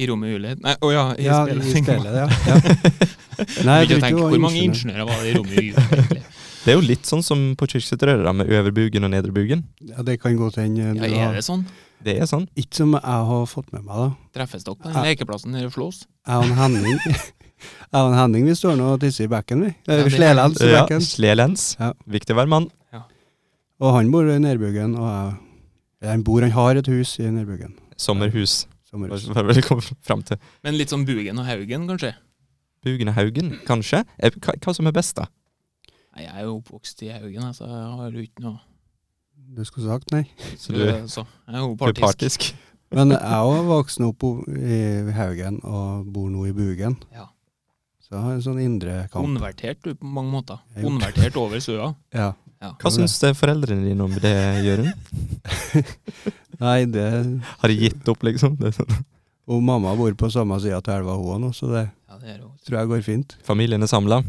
S3: I Romeo og Julie Nei, å ja, i
S1: Ja,
S3: spillet.
S1: i spillet, ja. ja. Nei,
S3: jeg begynte å
S1: tror ikke det
S3: tenke,
S1: var
S3: Hvor mange
S1: ingeniør.
S3: ingeniører var det i Romeo og Julie? egentlig?
S2: Det er jo litt sånn som på Kyrksæterøra, da, med øverbugen og nedrebugen.
S1: Ja, det kan godt hende. eh,
S3: Ja,
S1: du har-
S3: er det sånn?
S2: Det er sånn.
S1: Ikke som jeg har fått med meg, da.
S3: Treffes dere på
S1: Ja.
S3: den lekeplassen der og slåss?
S1: Jeg og en Henning Jeg og en Henning, vi står nå og tisser i bekken, vi.
S3: Ja,
S1: Eller
S3: det-
S1: slelens i
S2: Ja,
S1: bekken.
S2: Slelens.
S1: Ja.
S2: Viktig å være mann.
S1: Og han bor i Nærbuggen, og jeg ja, Han bor, han har et hus i Nærbuggen.
S2: Sommerhus.
S1: Sommerhus.
S2: Hva vil jeg komme fram til?
S3: Men litt sånn Bugen og Haugen, kanskje?
S2: Bugen og Haugen, kanskje? Eh, Hva, hva som er best, da?
S3: Nei, jeg er jo oppvokst i Haugen, altså. Jeg har jo ikke noe Eh,
S1: Du skulle sagt nei.
S2: Så du er
S3: så, Jeg er jo
S2: partisk.
S3: partisk.
S1: Men jeg òg vokste opp o- i Haugen og bor nå i Bugen.
S3: Ja.
S1: Så jeg har en sånn indre kamp.
S3: Konvertert, du, på mange måter.
S1: Jeg gjorde
S3: Konvertert over søa.
S1: Ja.
S2: Hva syns eh, foreldrene dine om det, Jørund?
S1: Nei, det
S2: Har de gitt opp, liksom? Det er sånn.
S1: Og mamma bor på samme sida til elva, hun òg nå, så det
S3: Ja, det er jo
S1: tror jeg går fint.
S2: Familien er samla?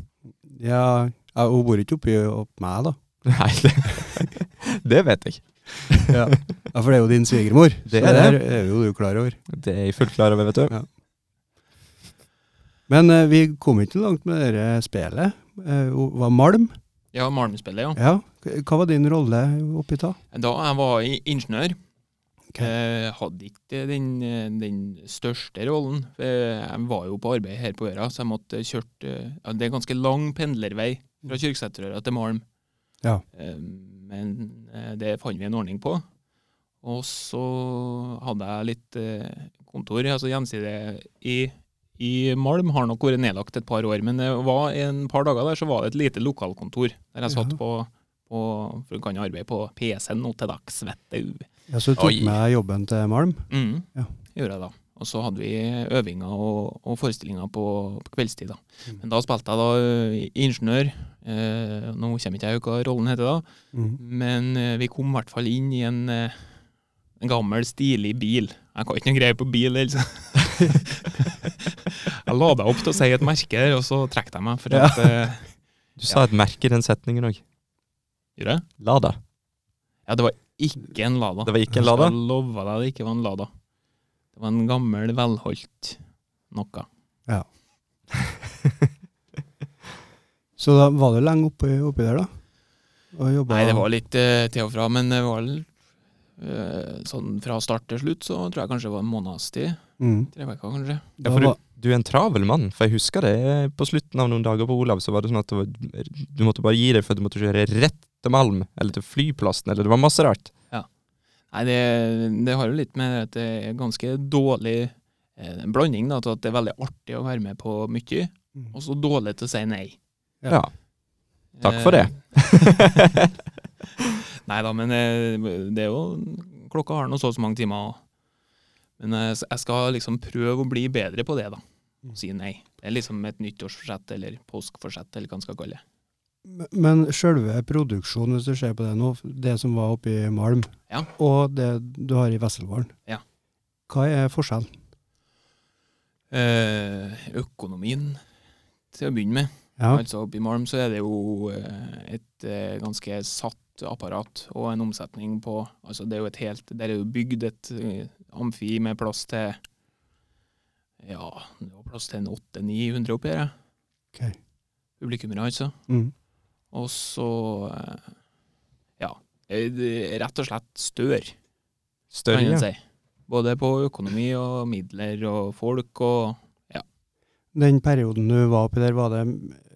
S1: Ja, ja, hun bor ikke oppi opp meg, da.
S2: Nei, det, det vet jeg.
S1: Ja. For det er jo din svigermor,
S2: Det
S1: så
S2: er
S1: det
S2: det.
S1: her er jo du klar over.
S2: Det er jeg fullt klar over, vet du.
S1: Men eh, vi kom ikke langt med det der spelet. Eh, hun var Malm?
S3: Ja, Malmspillet, ja.
S1: Ja. Hva var din rolle oppi da?
S3: Da jeg var i- ingeniør,
S1: Ok.
S3: eh, hadde ikke den, eh, den største rollen. Eh, Jeg var jo på arbeid her på øra, så jeg måtte kjørt eh, ja, Det er ganske lang pendlervei fra Kyrksæterøra til
S1: Mm.
S3: Malm.
S1: Ja.
S3: Eh, Men eh, det fant vi en ordning på. Og så hadde jeg litt eh, kontor, altså gjenside i, i Malm. Har nok vært nedlagt et par år, men det var en par dager der så var det et lite lokalkontor der jeg satt
S1: Ja.
S3: på og for hun kan jo arbeide på PC-en nå til dags, vet du.
S1: Ja, så du tok
S3: Oi.
S1: med jobben til Malm?
S3: Mm.
S1: Ja.
S3: Gjorde jeg da. Og så hadde vi øvinger og, og forestillinger på, på kveldstid. da.
S1: Mm.
S3: Men da spilte jeg da ø, ingeniør. Eh, nå kommer ikke jeg hva rollen heter da,
S1: Mhm.
S3: men eh, vi kom i hvert fall inn i en, eh, en gammel, stilig bil. Jeg kan ikke noe greie på bil, altså. Jeg lada opp til å si et merke, her, og så trakk jeg meg. For
S1: Ja.
S3: at, eh,
S2: Du sa et merke i den setningen òg.
S3: gjorde jeg?
S2: Lada.
S3: Ja, det var ikke en Lada.
S2: Det var ikke en Lada?
S3: Jeg lover deg det ikke var en Lada. Det var en gammel, velholdt noe.
S1: Så da var du lenge oppi, oppi der, da? Og jobba
S3: Nei, det var litt eh, til og fra, men det var eh, sånn fra start til slutt, så tror jeg kanskje det var en måneds tid.
S1: mm.
S3: Tre uker, kanskje.
S2: Ja,
S1: Da
S2: for du,
S1: var
S2: du er en travel mann, for jeg husker det eh, på slutten av noen dager på Olav, så var det sånn at det var, du måtte bare gi deg, for du måtte kjøre rett til Malm, eller til flyplassen, eller det var masse rart.
S3: Nei, det, det har jo litt med at det er ganske dårlig eh, en blanding, da, til at det er veldig artig å være med på mye, og så dårlig til å si nei.
S1: Ja.
S2: Ja. Takk for det.
S3: nei da, Eh, men eh, det er jo Klokka har nå så og så mange timer. og- Men eh, s- jeg skal liksom prøve å bli bedre på det, da.
S1: Mm.
S3: Si nei. Det er liksom et nyttårsforsett eller påskeforsett, eller hva en skal kalle det.
S1: Men sjølve produksjonen, hvis du ser på det nå, det som var oppe i Malm,
S3: Ja.
S1: og det du har i Vesselvaren,
S3: Ja.
S1: hva er forskjellen?
S3: Eh, økonomien, til å begynne med.
S1: Ja.
S3: Altså Oppe i Malm så er det jo eh, et eh, ganske satt apparat og en omsetning på altså det er jo et helt, Der er jo bygd et eh, amfi med plass til ja, det var plass til en 800-900 oppi her. ja.
S1: Ok.
S3: Publikummere, altså.
S1: Mm.
S3: Og så eh, ja, eh, det er rett og slett stør,
S2: Større,
S3: kan en
S2: ja.
S3: si. Både på økonomi og midler og folk og
S1: Den perioden du var oppi der, var det,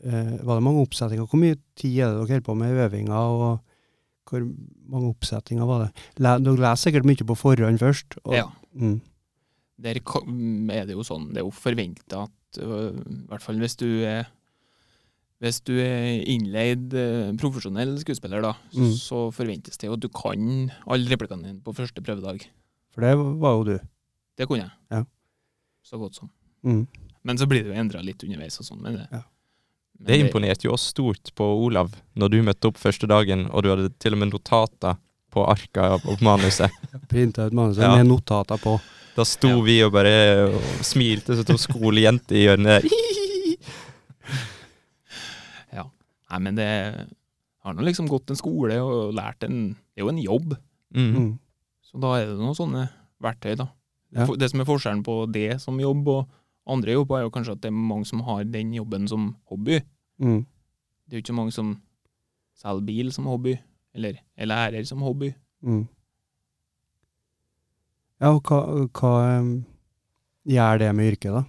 S1: eh, var det mange oppsettinger? Hvor mye tid er det dere holder på med øvinger, og hvor mange oppsettinger var det? Le, dere leser sikkert mye på forhånd først. Og,
S3: Ja.
S1: Mm.
S3: der ka- er det jo sånn, det er jo forventa at øh, I hvert fall hvis du er hvis du er innleid øh, profesjonell skuespiller, da,
S1: Mm.
S3: så forventes det jo at du kan alle replikkene dine på første prøvedag.
S1: For det var jo du.
S3: Det kunne jeg.
S1: Ja.
S3: Så godt som.
S1: Mm.
S3: Men så blir det jo endra litt underveis og sånn. Men det,
S1: Ja.
S3: men
S2: Det imponerte jo oss stort på Olav når du møtte opp første dagen, og du hadde til og med notater på arka og på manuset.
S1: Printa ut manuset
S2: Ja.
S1: med notater på.
S2: Da sto
S3: Ja.
S2: vi og bare og smilte som to skolejenter i hjørnet der.
S3: Nei, men det har nå liksom gått en skole og lært en Det er jo en jobb.
S2: Mm.
S1: Mm.
S3: Så da er det noen sånne verktøy, da.
S1: Ja.
S3: For- Det som er forskjellen på det som jobb og andre jobber, er jo kanskje at det er mange som har den jobben som hobby.
S1: Mm.
S3: Det er jo ikke mange som selger bil som hobby, eller er lærer som hobby.
S1: Mm. Ja, og hva, hva em, gjør det med yrket, da?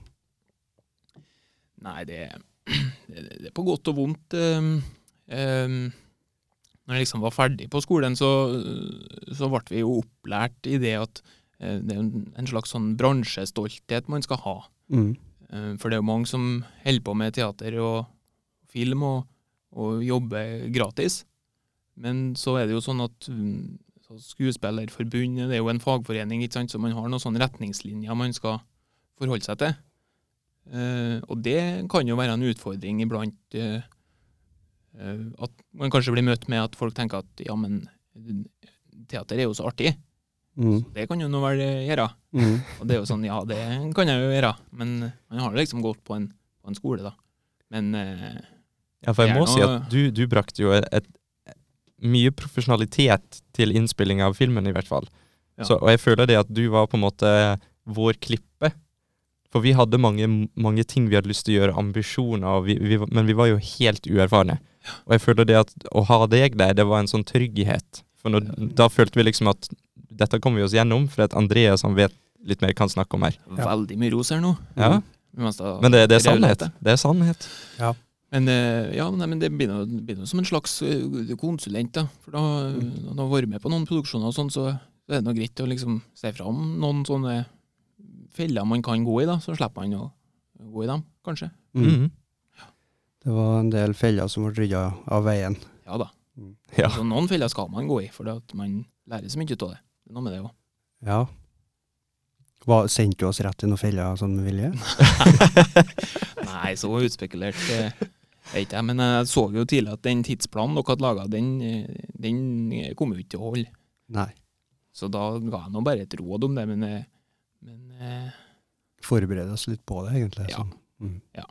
S3: Nei, det, det, det er på godt og vondt. ehm, ehm. når jeg liksom var ferdig på skolen, så, så ble vi jo opplært i det at eh, det er jo en en slags sånn bransjestolthet man skal ha.
S1: Mm.
S3: Eh, For det er jo mange som holder på med teater og film og, og jobber gratis. Men så er det jo sånn at mm, så Skuespillerforbundet det er jo en fagforening, ikke sant? så man har noen sånne retningslinjer man skal forholde seg til. Eh, og det kan jo være en utfordring iblant eh, eh, at man kanskje blir møtt med at folk tenker at ja, men mm, teater er jo så artig,
S1: Mm.
S3: så det kan jo nå vel eh, gjøre.
S1: Mm.
S3: Og det er jo sånn, ja, det kan jeg jo gjøre, men man har liksom gått på en, på en skole, da. Men eh,
S2: Ja, for jeg
S3: Det er
S2: må si
S3: noe-
S2: at du, du brakte jo et, et, mye profesjonalitet til innspilling av filmen, i hvert fall.
S3: Ja.
S2: Så, og jeg føler det at du var på en måte vår klippe. For vi hadde mange, mange ting vi hadde lyst til å gjøre, ambisjoner, og vi, vi, var- men vi var jo helt uerfarne. Og jeg føler det at å ha deg der, det var en sånn trygghet. For når, da følte vi liksom at dette kommer vi oss gjennom, for at Andreas han vet litt mer kan snakke om her.
S3: veldig mye ros her nå.
S1: mm,
S2: Ja,
S3: mens da-
S2: Men det, det er
S3: jo lett,
S2: sannhet.
S3: det.
S2: Det er sannhet.
S3: Men eh, ja, nei, men det blir nå- blir nå som en slags eh, konsulent, da. For da,
S2: Mm.
S3: når man har vært med på noen produksjoner og sånn, så er det nå greit å liksom se fram noen sånne feller man kan gå i, da. Så slipper man å gå i dem, kanskje.
S1: Mm.
S2: Mhm.
S1: Det var en del feller som ble rydda av veien.
S3: Ja da.
S1: Mm.
S2: Ja.
S3: Så noen feller skal man gå i, for det at man lærer så mye ut av det. Det er noe med det òg.
S1: Ja. Hva, sendte du oss rett i noen feller sånn med vilje?
S3: Nei, så utspekulert eh, vet jeg. Men jeg så jo tidlig at den tidsplanen dere hadde laga, den, eh, den kom jo ikke til å holde.
S1: Nei.
S3: Så da ga jeg nå bare et råd om det. Men, eh, men eh,
S1: forberede oss litt på det, egentlig.
S3: Ja.
S1: Sånn. Mm.
S3: Ja.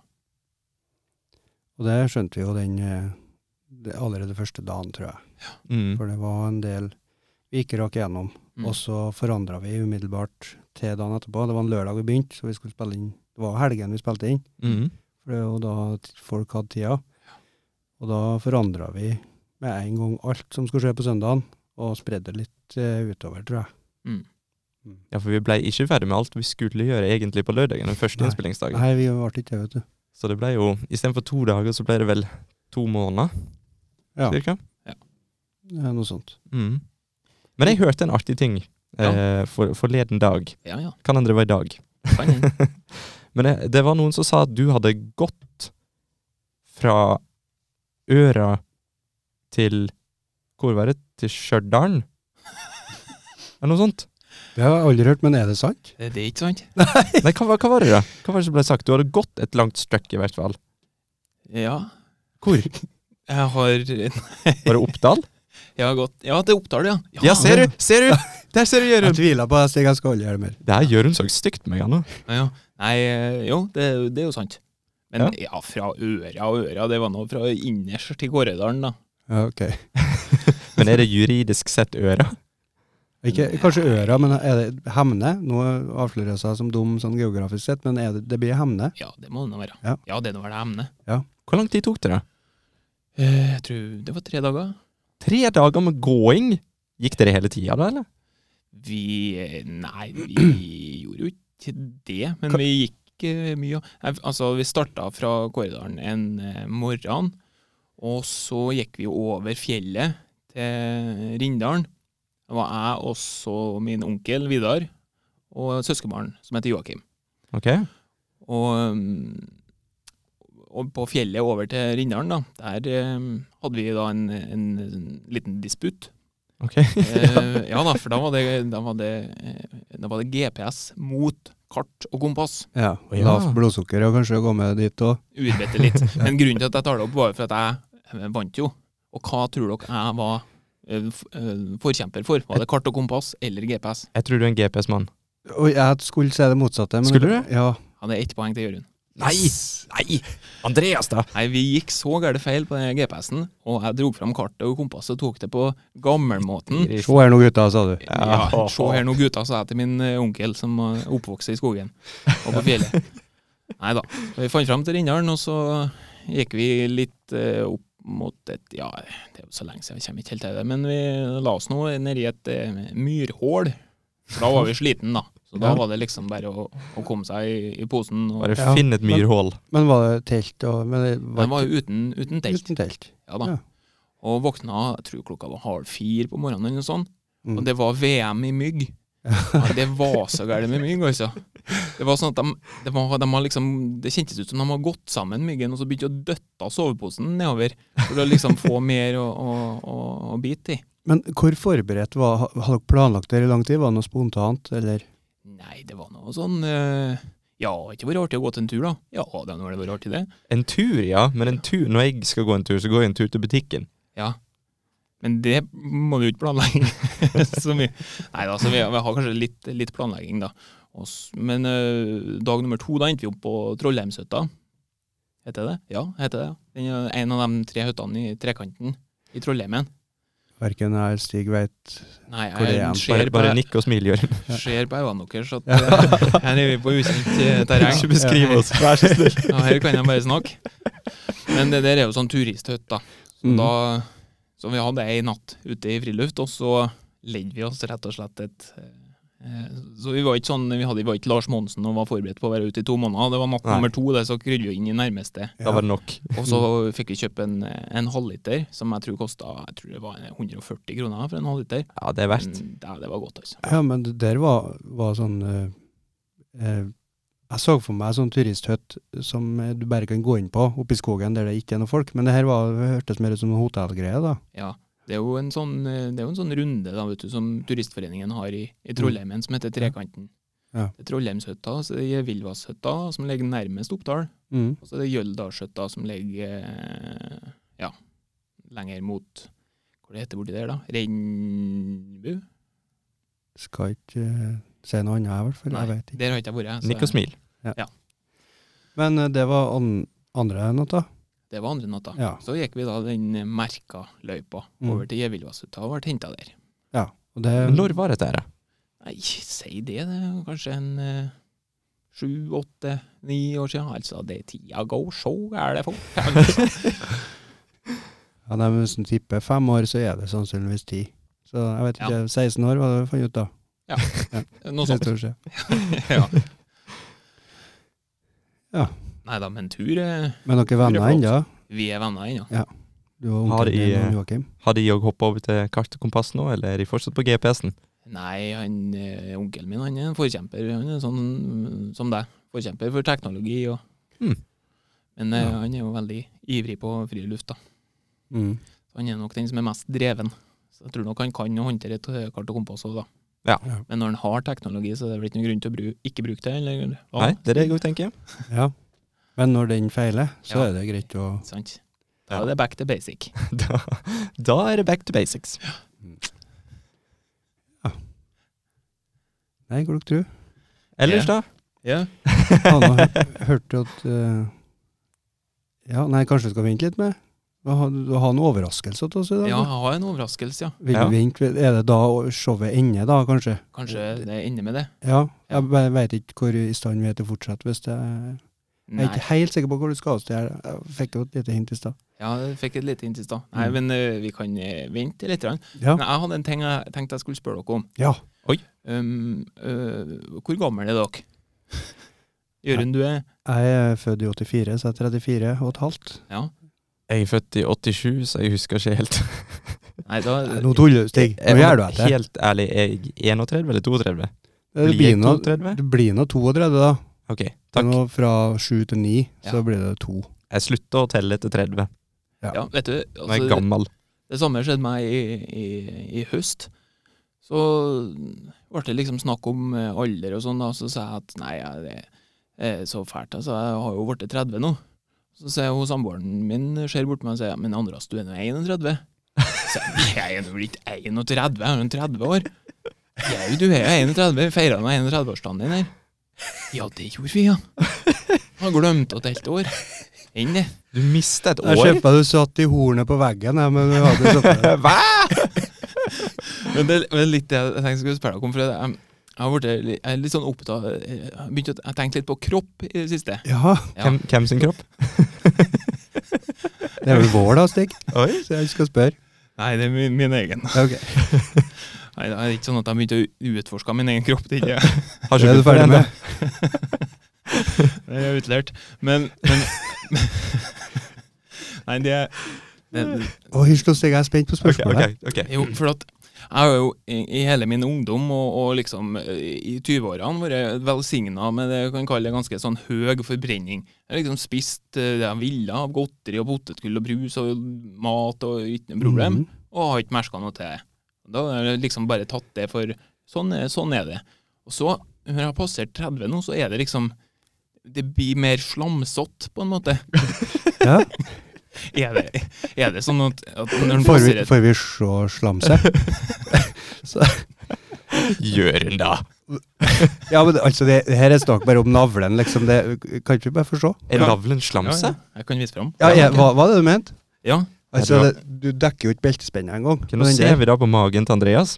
S1: Og det skjønte vi jo den, eh, det allerede første dagen, tror jeg.
S2: Mm.
S1: For det var en del vi ikke rakk gjennom.
S3: Mm.
S1: Og så forandra vi umiddelbart til dagen etterpå. Det var en lørdag vi begynte, så vi skulle spille inn. Det var helgen vi spilte inn,
S2: Mm.
S1: for det var jo da t- folk hadde tida. Og da forandra vi med en gang alt som skulle skje på søndagen, og spredde det litt eh, utover, tror jeg.
S3: Mm.
S2: Ja, for vi ble ikke ferdig med alt vi skulle gjøre egentlig på lørdagen, den første
S1: Nei.
S2: innspillingsdagen.
S1: Nei, vi ble ikke det, vet du.
S2: Så det ble jo, istedenfor to dager, så ble det vel to måneder,
S1: Ja.
S2: cirka.
S1: Det er noe sånt.
S2: Mm. Men jeg hørte en artig ting eh, for, forleden dag.
S3: Ja, ja.
S2: Kan hende det var i dag.
S3: Kan hende.
S2: Men det, det var noen som sa at du hadde gått fra Øra til Hvor var det? Til Stjørdal? Eller noe sånt?
S1: Det har jeg aldri hørt, men er det sant?
S3: Det er ikke sant?
S2: Nei, hva, var- hva var det da? Hva var det som ble sagt? Du hadde gått et langt strekk i hvert fall.
S3: Ja.
S2: Hvor?
S3: Jeg har
S2: Var det Oppdal?
S3: Jeg har gått Ja, til Oppdal, ja.
S2: Ja, ser du! Ser du! Der ser du
S1: Jeg
S2: Jørund!
S1: tviler på det, Stig. Jeg skal aldri gjøre det mer.
S2: Det her Jørund så stygt på meg nå.
S3: Ja, ja. Nei, eh, jo, det, er jo- det er jo sant. Men ja, fra øra og øra, det var nå fra innerst i Gårøydalen, da.
S1: Ja, ok.
S2: Men er det juridisk sett Øra?
S1: Ikke, kanskje øra, men er det Hemne? Nå avslører jeg seg som dum sånn geografisk sett, men er det, det blir Hemne?
S3: Ja, det må det nå være.
S1: Ja.
S3: det er nå vel det emnet.
S2: Hvor lang tid tok det, da?
S3: Eh, Jeg tror det var tre dager.
S2: Tre dager med gåing? Gikk dere hele tida da, eller?
S3: Vi eh, Nei, vi gjorde jo ikke det, men vi gikk eh, mye. Nei, Altså, vi starta fra Gårøydalen en eh, morgen, og så gikk vi over fjellet til Rindalen. Det var jeg og så min onkel Vidar og søskenbarn som heter Joakim.
S2: Ok.
S3: Og, um, og på fjellet over til Rindalen, da, der um, hadde vi da en, en, liten disputt.
S2: Ok.
S3: Eh, ja da, for da var, det, da, var det, eh, da var det GPS mot kart og kompass.
S1: Ja.
S2: Å, ja.
S1: Lavt blodsukker og kanskje å gå med dit òg.
S3: Utbette litt. Men grunnen til at jeg tar det opp, var jo for at jeg eh, vant jo. Og hva tror dere jeg var eh, f- eh, forkjemper for? Var det kart og kompass eller GPS?
S2: Jeg tror du er en GPS-mann.
S1: Og jeg skulle si det motsatte. Men
S2: Skulle du?
S1: Ja.
S3: Ja, det er ett poeng til Jørund.
S2: Nei! Nei! Andreas, da!
S3: Nei, vi gikk så gærent feil på den GPS-en, og jeg dro fram kartet og kompasset og tok det på gammelmåten.
S1: Se her nå, gutta, sa du.
S3: Ja,
S2: Ja.
S3: se her nå gutta, sa jeg til min eh, onkel som eh, oppvokste i skogen og på fjellet. Nei da. Vi fant fram til Rindalen, og så gikk vi litt eh, opp mot et Ja, det er jo så lenge siden, jeg kommer ikke helt til det, men vi la oss nå nedi et eh, myrhål. Da var vi sliten da. Så da
S1: Ja.
S3: var det liksom bare å, å komme seg i, i posen. Og,
S2: Bare
S1: Ja.
S2: finn et myrhull.
S1: Men var det telt og men det
S3: den var jo uten, uten
S1: ikke
S3: telt.
S1: uten telt.
S3: Ja da.
S1: Ja.
S3: Og våkna, jeg tror klokka var halv fire på morgenen eller noe sånt.
S1: Mm.
S3: Og det var VM i mygg. Ja, det var så gærent med mygg, altså. Det var sånn at de, det, var, de har liksom, det kjentes ut som de har gått sammen, myggen, og så begynte de å døtte soveposen nedover. For å liksom få mer å, å, å, å bite i.
S1: Men hvor forberedt var ha- Hadde dere planlagt det i lang tid? Var det noe spontant, eller?
S3: Nei, det var noe sånn eh, Ja, det har ikke vært artig å gå til en tur, da. Ja, det har vært artig, det.
S2: En tur, ja. Men en tur, når jeg skal gå en tur, så går jeg en tur til butikken.
S3: Men det må du ikke planlegge så mye. Nei da, så vi, vi har kanskje litt, litt planlegging, da. Og s- men ø, dag nummer to, da endte vi opp på Trollheimshytta. Heter det? Ja, heter det. Den er en av de tre hyttene i trekanten i Trollheimen.
S1: Verken jeg eller Stig veit
S3: Nei,
S1: Hvor det er han?
S3: jeg ser
S2: Bare,
S3: på,
S2: bare nikk og smil, Jørund.
S3: ser på øynene deres at
S1: Ja.
S3: ø, her er vi på ukjent ø, terreng.
S2: Ikke beskriv oss, vær så snill.
S3: Ja, her kan jeg bare snakke. Men det der er jo sånn turisthytte, da. Så,
S1: Mm.
S3: da, så vi hadde ei natt ute i friluft, og så ledde vi oss rett og slett et eh, Så vi var ikke sånn, vi hadde, vi var ikke Lars Monsen og var forberedt på å være ute i to måneder. Det var natt
S2: Nei.
S3: nummer to, det, så krydde vi inn i nærmeste.
S2: Da var det nok.
S3: Og så
S1: Mhm.
S3: fikk vi kjøpe en, en halvliter, som jeg tror kosta jeg tror det var 140 kroner for en halvliter.
S2: Ja, det er verdt.
S3: Men det, det var godt, altså.
S1: Ja, men det der var, var sånn eh, eh, Jeg så for meg sånn turisthøtt som eh, du bare kan gå inn på oppe i skogen der det ikke er noe folk. Men det her var, hørtes mer ut som en hotellgreie, da.
S3: Ja. Det er jo en sånn, eh, det er jo en sånn runde da, vet du, som Turistforeningen har i, i Trollheimen, som heter Trekanten.
S1: Mm. Ja.
S3: Det er Trollheimshytta, så det er Villvasshytta, som ligger nærmest Oppdal.
S1: Mm.
S3: Og så er det Jøldalshytta, som ligger eh, ja, lenger mot Hvor det heter borti der, da? Rennbu?
S1: Skal ikke eh, si noe annet, i hvert fall.
S3: Nei,
S1: Jeg vet ikke.
S3: der har ikke jeg vært. så
S2: Mm. Nikk og smil.
S1: Men eh, det var an andre natta.
S3: Det var andre natta.
S1: Ja.
S3: Så gikk vi da den merka løypa
S1: Mm.
S3: over til Gjevillvassutta og ble henta der.
S1: ja. Og det,
S2: Men når var dette her? da?
S3: Nei, si det, det er kanskje en eh, sju, åtte, ni år siden. Altså, det tida går så er det fort. Altså,
S1: ja, nei, men hvis du tipper fem år, så er det sannsynligvis ti. Så jeg vet
S3: Ja.
S1: ikke, 16 år var det vi fant ut da.
S3: Noe
S1: Siste
S3: sånt.
S1: år siden.
S3: ja.
S1: Ja.
S3: Nei da, men tur eh,
S1: Men dere er venner
S3: Lurer på
S1: ennå?
S3: Vi er venner ennå.
S1: Du og
S2: Har
S1: onkelen
S2: i,
S1: din
S2: eh,
S1: og Joakim?
S2: Har de òg hoppa over til kart og kompass nå, eller er de fortsatt på GPS-en?
S3: Nei, han, eh, onkelen min han er en forkjemper. Han er sånn mm, som deg. Forkjemper for teknologi og
S2: Mm.
S3: Men eh,
S1: Ja.
S3: han er jo veldig ivrig på friluft, da.
S1: Mm.
S3: Så han er nok den som er mest dreven. Så jeg tror nok han kan å håndtere et eh, kart og kompass òg, da.
S2: Ja.
S1: Ja.
S3: Men når han har teknologi, så er det vel ikke noen grunn til å bru ikke bruke det. Eller, Ja,
S2: Nei, det er det jeg òg tenker.
S1: Ja. Men når den feiler, så
S3: Ja.
S1: er det greit å
S3: Sant?
S2: Ja.
S3: Da er det back to basic.
S2: Da, da er det back to basics.
S1: Nei, klok tru.
S2: Ellers, da?
S3: Ja.
S1: Ja, nå hø- hørte jo at eh, Ja, nei, kanskje vi skal vente litt med Du har, du har en overraskelse til oss i dag?
S3: ja,
S1: da?
S3: jeg har en overraskelse, ja.
S1: Vil
S2: Ja.
S1: vi vente? Er det da showet ender, da, kanskje?
S3: Kanskje det ender med det.
S1: Ja. Jeg bare vet ikke hvor i stand vi er til å fortsette hvis det er Jeg
S3: Nei.
S1: er ikke helt sikker på hvor du skal oss til her. Jeg fikk jo et lite hint i stad.
S3: Ja, jeg fikk et lite hint i stad.
S2: Hmm.
S3: Nei,
S1: Mm.
S3: men eh, vi kan eh, vente litt. grann.
S1: Ja.
S3: Men jeg hadde en ting jeg tenkte jeg skulle spørre dere om.
S1: ja.
S3: Um, øh, hvor gammel er dere? Jørund, du er
S1: Jeg er født i 84, så jeg er 34 og et halvt.
S3: Ja.
S2: Jeg er født i 87, så jeg husker ikke helt.
S3: Nei, da
S1: Nei, Nå tuller du, Stig.
S3: Eh,
S1: Nå gjør du etter.
S2: Helt ærlig, er jeg 31 eller 32?
S1: Det
S2: Blir
S1: blir
S2: jeg
S1: nå
S2: 32?
S1: det blir nå 32, da.
S2: Ok,
S1: Det er
S2: takk.
S1: nå fra 7 til 9,
S3: Ja.
S1: så blir det 2.
S2: Jeg slutta å telle etter 30.
S3: Ja, vet du,
S2: Nå er jeg
S3: altså,
S2: gammel.
S3: det samme skjedde meg i, i, i høst. Så ble det liksom snakk om eh, alder og sånn, da, så sa jeg at nei, jeg- det er så fælt, altså, jeg har jo blitt 30 nå. Så ser jeg hun samboeren min ser bort på meg og sier ja, men Andreas, du er nå 31. Så jeg, nei, jeg er nå vel ikke 31, jeg er jo 30 år. Jau, du er jo 31, feira nå 31-årsdagen din her. Ja, det gjorde vi, ja. Har glemt at det er et helt år. Enn det.
S2: Du mista et
S1: Jeg ser
S2: år.
S1: for meg du satt i hornet på veggen, jeg, men du hadde så på
S2: Hva?
S3: Men det men litt det jeg tenkte jeg skulle spørre deg om. For jeg, jeg har vært litt, jeg er litt sånn opptatt Jeg har begynt å jeg tenkte litt på kropp i det siste.
S1: Ja,
S3: Ja.
S2: Hvem, hvem sin kropp?
S1: det er vel vår da, Stig,
S2: Oi.
S1: så jeg skal spørre.
S3: Nei, det er min, min egen.
S1: Ja, ok.
S3: Nei, det er ikke sånn at jeg begynte å utforske min egen kropp. Det er ikke-
S2: Har
S1: Det
S2: ikke
S1: er du
S2: begynt på det
S1: ferdig
S2: ennå.
S1: med?
S3: det er utlært. Men, men Nei, det er det-
S1: Å, hysj nå, Stig, jeg er spent på
S2: Ok,
S1: spørsmålet.
S2: ok, ok.
S3: Jo, for at jeg har jo i, i hele min ungdom og, og liksom eh, i 20-årene vært velsigna med det jeg kan kalle ganske sånn høy forbrenning. Jeg har liksom spist eh, det jeg ville av godteri og potetgull og brus og mat og uten problem,
S1: Mhm.
S3: og har ikke merka noe til det. Da har jeg liksom bare tatt det for sånn, er- sånn er det. Og så, når jeg har passert 30 nå, så er det liksom Det blir mer slamsete, på en måte.
S1: Ja.
S3: Er det, er det sånn at, at når en
S1: Får vi,
S3: passerer
S1: får vi se slamse?
S2: Jørund, da.
S1: Ja, men altså, det, det her er snakk bare om navlen, liksom. Det, kan ikke vi bare få se?
S2: Er
S3: Ja.
S2: navlen slamse?
S3: Ja, ja. Jeg kan vise fram.
S1: Ja, ja, hva var det du mente?
S3: Ja,
S1: Altså,
S2: Ja, det
S1: det, du dekker jo ikke beltespennet engang.
S2: Ok, Nå ser vi da på magen til Andreas.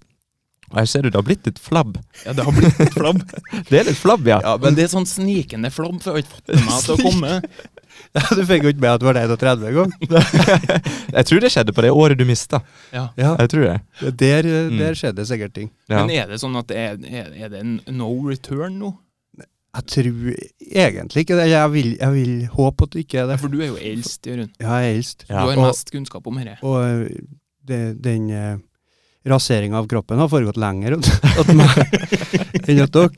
S2: Og jeg ser du det har blitt litt flabb.
S3: ja, det har blitt litt flabb.
S2: Det er litt flabb, ja.
S3: Ja, men det er sånn snikende flabb, for jeg har ikke fått med meg til å komme.
S1: Du fikk jo ikke med at du var 31 engang.
S2: Jeg tror det skjedde på det året du mista.
S3: Ja.
S1: Ja,
S2: Jeg tror det.
S1: der, eh,
S2: Mm.
S1: der skjedde det sikkert ting.
S2: Ja.
S3: Men er det sånn at det er, er, er det en no return nå?
S1: Jeg tror egentlig ikke det. Jeg vil, jeg vil håpe at det ikke er det.
S3: For du er jo eldst, Jørund.
S1: Ja, jeg er eldst.
S2: Ja.
S3: Du har
S1: Og-
S3: mest kunnskap om dette.
S1: Og eh, det, den eh, raseringa av kroppen har foregått lenger at at meg enn at dere.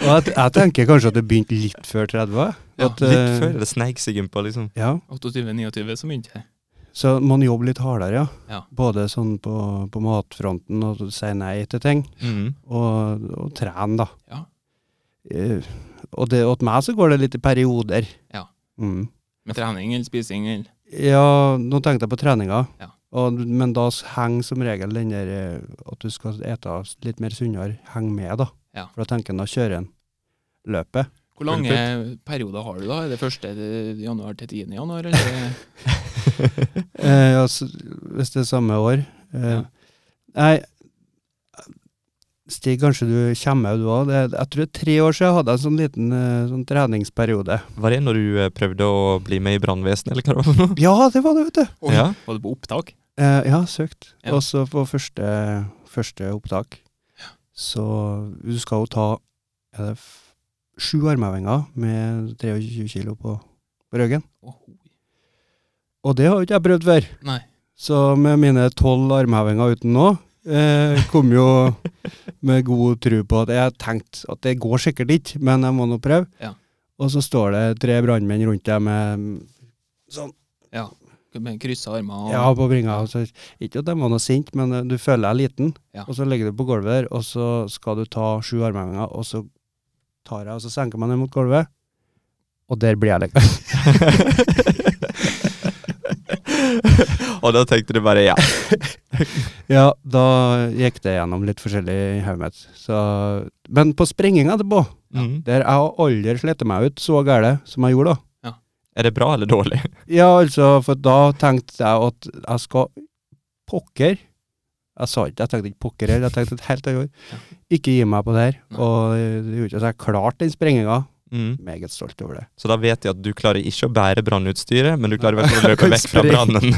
S1: og jeg, jeg tenker kanskje at det begynte litt før 30. jeg.
S3: Ja,
S1: At,
S2: Litt
S1: eh,
S2: før det sneik seg innpå, liksom.
S1: Ja,
S3: 28-29, så begynte jeg.
S1: så man jobber litt hardere, ja.
S3: Ja.
S1: Både sånn på, på matfronten og si nei til ting,
S2: Mm.
S1: og, og trene, da.
S3: Ja.
S1: Eh, og det, og til meg så går det litt i perioder.
S3: Ja.
S1: Mm.
S3: Med trening eller spising eller
S1: Ja, nå tenkte jeg på treninga.
S3: Ja.
S1: Og, men da s- henger som regel den der eh, at du skal ete litt mer sunnere, henger med, da.
S3: Ja.
S1: For da tenker en da kjører en løpet.
S3: Hvor lange perioder har du da? Er det 1. januar til 10. januar? Eller?
S1: Eh, altså, hvis det er samme år. Eh,
S3: Ja.
S1: Nei, Stig, kanskje du kommer du òg. Jeg tror det er tre år siden jeg hadde en sånn liten eh, sånn treningsperiode.
S2: Var det når du eh, prøvde å bli med i brannvesenet, eller hva det var for noe?
S1: Ja, det var det, vet du!
S3: Oi.
S2: Ja.
S3: Var det på opptak?
S1: Eh, ja, søkt.
S3: Ja.
S1: Også på første, første opptak. Så du skal jo ta er det f sju armhevinger med 23 kilo på, på ryggen.
S3: Åh,
S1: Og det har jo ikke jeg prøvd før.
S3: Nei.
S1: Så med mine tolv armhevinger uten nå, eh, kom jo med god tro på at jeg tenkte at det går sikkert ikke, men jeg må nå prøve.
S3: Ja.
S1: Og så står det tre brannmenn rundt deg med mm, sånn
S3: Med kryssa armer og
S1: ja, på bringa. og så- Ikke at de var noe sint, men eh, du føler deg liten.
S3: Ja.
S1: Og så ligger du på gulvet der, og så skal du ta sju armhevinger, og så tar jeg, og så senker jeg meg ned mot gulvet, og der blir jeg liggende.
S2: Og da tenkte du bare ja.
S1: Ja, da gikk det gjennom litt forskjellig i hodet mitt. Så- Men på springing etterpå,
S2: Mm.
S1: der jeg har aldri slitt meg ut så gæle som jeg gjorde da.
S2: Er det bra eller dårlig?
S1: Ja, altså, for da tenkte jeg at jeg skal pokker Jeg sa ikke, jeg tenkte ikke pokker heller, jeg tenkte et helt annet ord. Ikke gi meg på det her.
S3: Nei.
S1: Og eh, det gjorde ikke at jeg klarte den sprenginga.
S2: Mm.
S1: Meget stolt over det.
S2: Så da vet de at du klarer ikke å bære brannutstyret, men du klarer i hvert fall å løpe
S1: Kan
S2: vekk fra
S1: springe.
S2: brannen.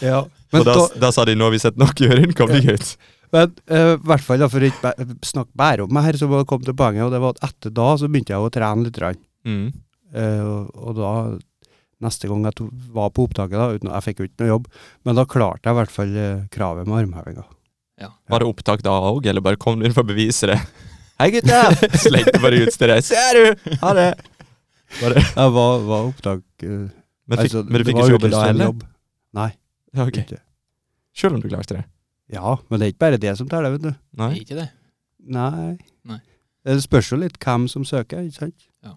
S1: Ja. Men
S2: Og da,
S1: da,
S2: da sa de nå har vi sett nok, Jørund, kom deg ut.
S1: Men eh, i hvert fall da, for å ikke bæ- snakke bare om meg her, så må jeg komme til poenget, og det var at etter da så begynte jeg å trene litt. Rann.
S2: Mm.
S1: Eh, og, og da, neste gang jeg to, var på opptaket, da, uten, jeg fikk jo ikke noe jobb, men da klarte jeg i hvert fall eh, kravet med armhevinga.
S2: Var det opptak da òg, eller bare kom du inn for å bevise det? Hei, gutta! Slengte bare utstyret. Ser du! Ha det!
S1: Jeg var, var opptak eh,
S2: Men, fikk,
S1: altså,
S2: men du
S1: det
S2: fikk
S1: var
S2: ikke
S1: jo
S2: jobben da
S1: lyst til en
S2: heller?
S1: jobb. Nei.
S2: Ja, ok.
S1: Ikke.
S2: Selv om du klarte det?
S1: Ja, men det er ikke bare det som teller, vet du.
S3: Er
S2: Nei?
S3: ikke det?
S1: Nei. Eh,
S3: Nei.
S1: Det spørs jo litt hvem som søker, ikke sant?
S3: Ja.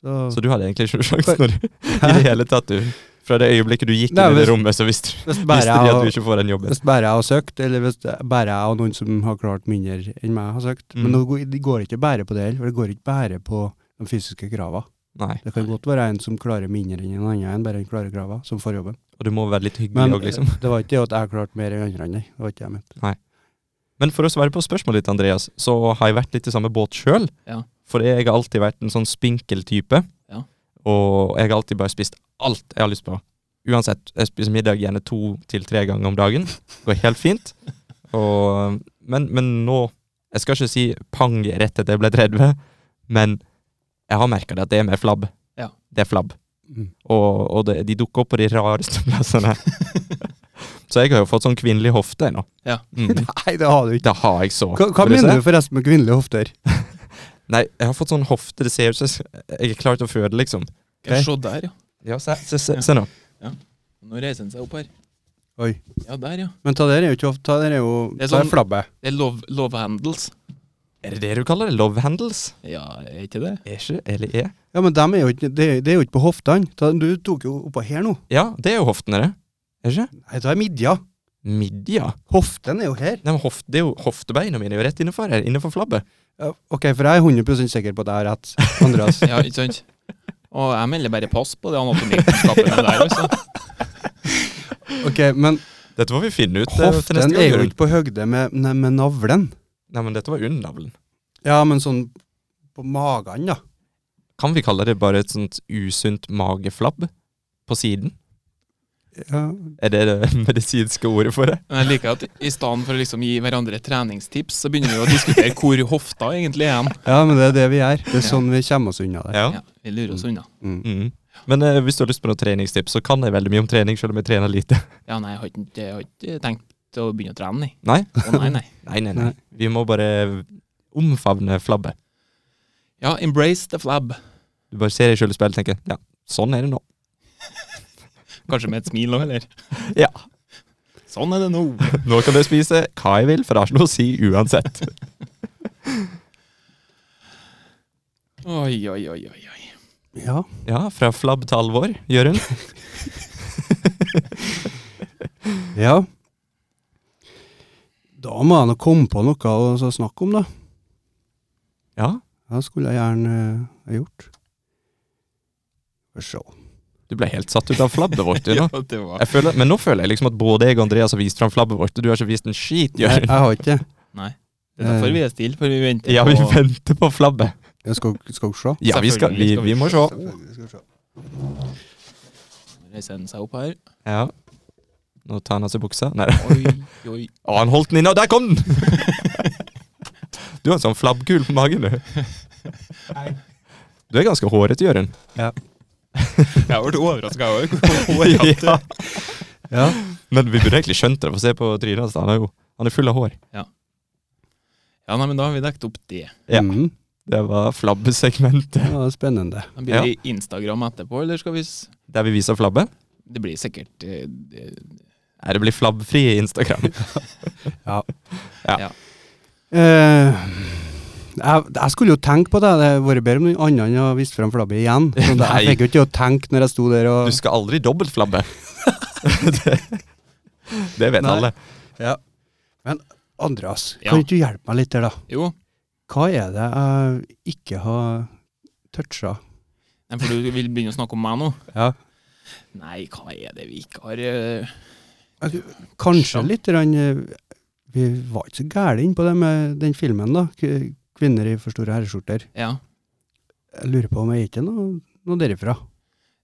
S1: Så,
S2: Så du hadde egentlig ikke noen sjanse når du I det hele tatt, du. Fra det øyeblikket du gikk
S1: Nei,
S2: inn i det
S1: hvis-
S2: rommet, så visste,
S1: hvis
S2: visste
S1: bare
S2: de
S1: jeg
S2: at
S1: og-
S2: du ikke får den jobben.
S1: Hvis bare jeg har søkt, eller hvis det- bare jeg og noen som har klart mindre enn meg har søkt.
S2: Mm.
S1: Men nå går- det går ikke bare på det heller, for det går ikke bare på de fysiske kravene.
S2: Nei.
S1: Det kan godt være en som klarer mindre enn en annen, enn bare en klarer kravene, som får jobben.
S2: Og du må være litt hyggelig
S1: Men
S2: òg, liksom.
S1: eh, det var ikke det at jeg klarte mer enn andre, nei. Det var ikke det jeg mente.
S2: Men for å svare på spørsmålet ditt, Andreas, så har jeg vært litt i samme båt sjøl.
S3: Ja.
S2: For jeg har alltid vært en sånn spinkel type.
S3: Ja.
S2: Og jeg har alltid bare spist alt jeg har lyst på. Uansett. Jeg spiser middag gjerne to til tre ganger om dagen. Går helt fint. Og, men, men nå Jeg skal ikke si pang rett etter jeg ble 30, men jeg har merka det at det er mer flabb.
S3: Ja.
S2: Det er flabb.
S1: Mm.
S2: Og, og det, de dukker opp på de rareste plassene. så jeg har jo fått sånn kvinnelig hofte nå.
S3: Ja.
S2: Mm.
S1: Nei, det har du ikke.
S2: Det har jeg så.
S1: Hva, hva
S2: Vil
S1: mener
S2: se?
S1: du forresten med kvinnelige hofter?
S2: Nei, jeg har fått sånn hofte. Det ser ut som jeg er klar til å føde, liksom.
S3: Skal jeg se der, ja.
S2: Ja, se, se, se, se nå.
S3: Nå reiser han seg opp her.
S1: Oi.
S3: Ja, der, ja.
S1: Men ta der er jo ikke hofte, ta der er jo
S3: Det er
S1: ta
S3: sånn-
S1: flabbe.
S3: Det er love, love handles.
S2: Er det det du kaller det? Love handles?
S3: Ja, er ikke det?
S2: Er ikke Eller er?
S1: Ja, men dem er jo ikke, det, det er jo ikke på hoftene. Ta- Du tok jo oppå her nå.
S2: Ja, det er jo hoftene, det. Er det ikke?
S1: Nei, ta midja.
S2: Midja?
S1: Hoften er jo her.
S2: Nei, men hof, det er jo hoftebeina mine er jo rett innenfor her. Innenfor flabbet.
S1: Ja, ok, for jeg er 100 sikker på at jeg har rett, Andreas.
S3: Ja, ikke sant? Og jeg melder bare pass på det anatomikunnskapen der. altså. Også.
S1: Ok, Men
S2: Dette må vi finne ut eh, til
S1: hoften er
S2: neste gang.
S1: jo
S2: Jørund.
S1: ikke på høgde med, nei, med navlen.
S2: Nei, men dette var under navlen.
S1: Ja, men sånn på magen, da.
S2: Kan vi kalle det bare et sånt usunt mageflabb på siden?
S1: Ja,
S2: Er det det medisinske ordet for det?
S3: Men jeg liker at i stedet for å liksom gi hverandre treningstips, så begynner vi å diskutere hvor hofta egentlig er. hen.
S1: ja men det er det vi gjør. Det er sånn vi kommer oss unna det.
S3: Ja, vi lurer oss unna.
S1: Mm.
S2: Mm. Men eh, hvis du har lyst på noen treningstips, så kan jeg veldig mye om trening, selv om jeg trener lite.
S3: Ja, nei, jeg har ikke, jeg har ikke tenkt å begynne å trene, nei.
S2: Nei?
S3: Å, nei, nei.
S2: Nei, nei, nei.
S1: Nei.
S2: Vi må bare omfavne flabbe.
S3: Ja, embrace the flab.
S2: Du bare ser deg selv i speilet og tenker ja, sånn er det nå.
S3: Kanskje med et smil nå, eller?
S2: Ja.
S3: Sånn er det nå.
S2: Nå kan jeg spise hva jeg vil, for det har ikke noe å si uansett.
S3: Oi, oi, oi, oi. oi.
S1: Ja.
S2: Ja, fra flabb til alvor, Jørund.
S1: ja. Da må jeg nå komme på noe å så snakke om, da.
S2: Ja,
S1: Ja, skulle jeg gjerne eh, ha gjort. Får se.
S2: du ble helt satt ut av flabbet vårt, du nå.
S3: det var
S2: Jeg føler, men nå føler jeg liksom at både jeg og Andreas har vist fram flabbet vårt, og du har ikke vist en skit,
S1: Nei, jeg
S2: Jørgen.
S1: har ikke det.
S3: Nei. Det er derfor vi er stille, for vi venter
S2: Ja, vi
S3: på-
S2: venter på flabbet.
S1: Jeg skal, skal dere se?
S2: Ja, vi, skal, vi,
S3: Selvfølgelig skal vi
S2: vi må se.
S1: Selvfølgelig skal dere se.
S3: reiser den seg opp her.
S2: Ja. Nå tar han av seg buksa. Nei.
S3: Oi, oi.
S2: Å, han holdt den inne, og der kom den! Du har en sånn flabbkul på magen, du. Du er ganske hårete, Jørund.
S3: Jeg ble overraska òg.
S2: Ja.
S1: Ja.
S2: Men vi burde egentlig skjønt det, for å se på trynet hans. Han er jo han er full av hår.
S3: Ja, nei, men da har vi dekket opp det.
S2: Ja.
S1: Mhm.
S2: Det var flabbesegmentet.
S1: ja, spennende.
S3: Da blir det Instagram etterpå, eller skal vi s
S2: Der vi viser flabbe.
S3: Det blir sikkert eh, det-
S2: Nei, det blir flabbfri Instagram.
S1: Eh, jeg, jeg skulle jo tenke på det. Det hadde vært bedre om noen andre enn å vise frem flabbet igjen. Sånn at jeg
S2: Nei.
S1: fikk jo ikke å tenke når jeg sto der og
S2: Du skal aldri dobbeltflabbe. det, det vet
S1: Nei.
S2: alle.
S1: Andreas,
S3: Ja.
S1: kan ikke du hjelpe meg litt her, da?
S3: Jo.
S1: Hva er det jeg ikke har toucha?
S3: Nei, for du vil begynne å snakke om meg nå?
S1: Ja.
S3: Nei, hva er det vi ikke har eh,
S1: Kanskje
S3: Toucha?
S1: litt grann, eh, Vi var ikke så gære inn på det med den filmen, da. K- 'Kvinner i for store herreskjorter'.
S3: Ja,
S1: Jeg lurer på om jeg er ikke noe, noe derifra.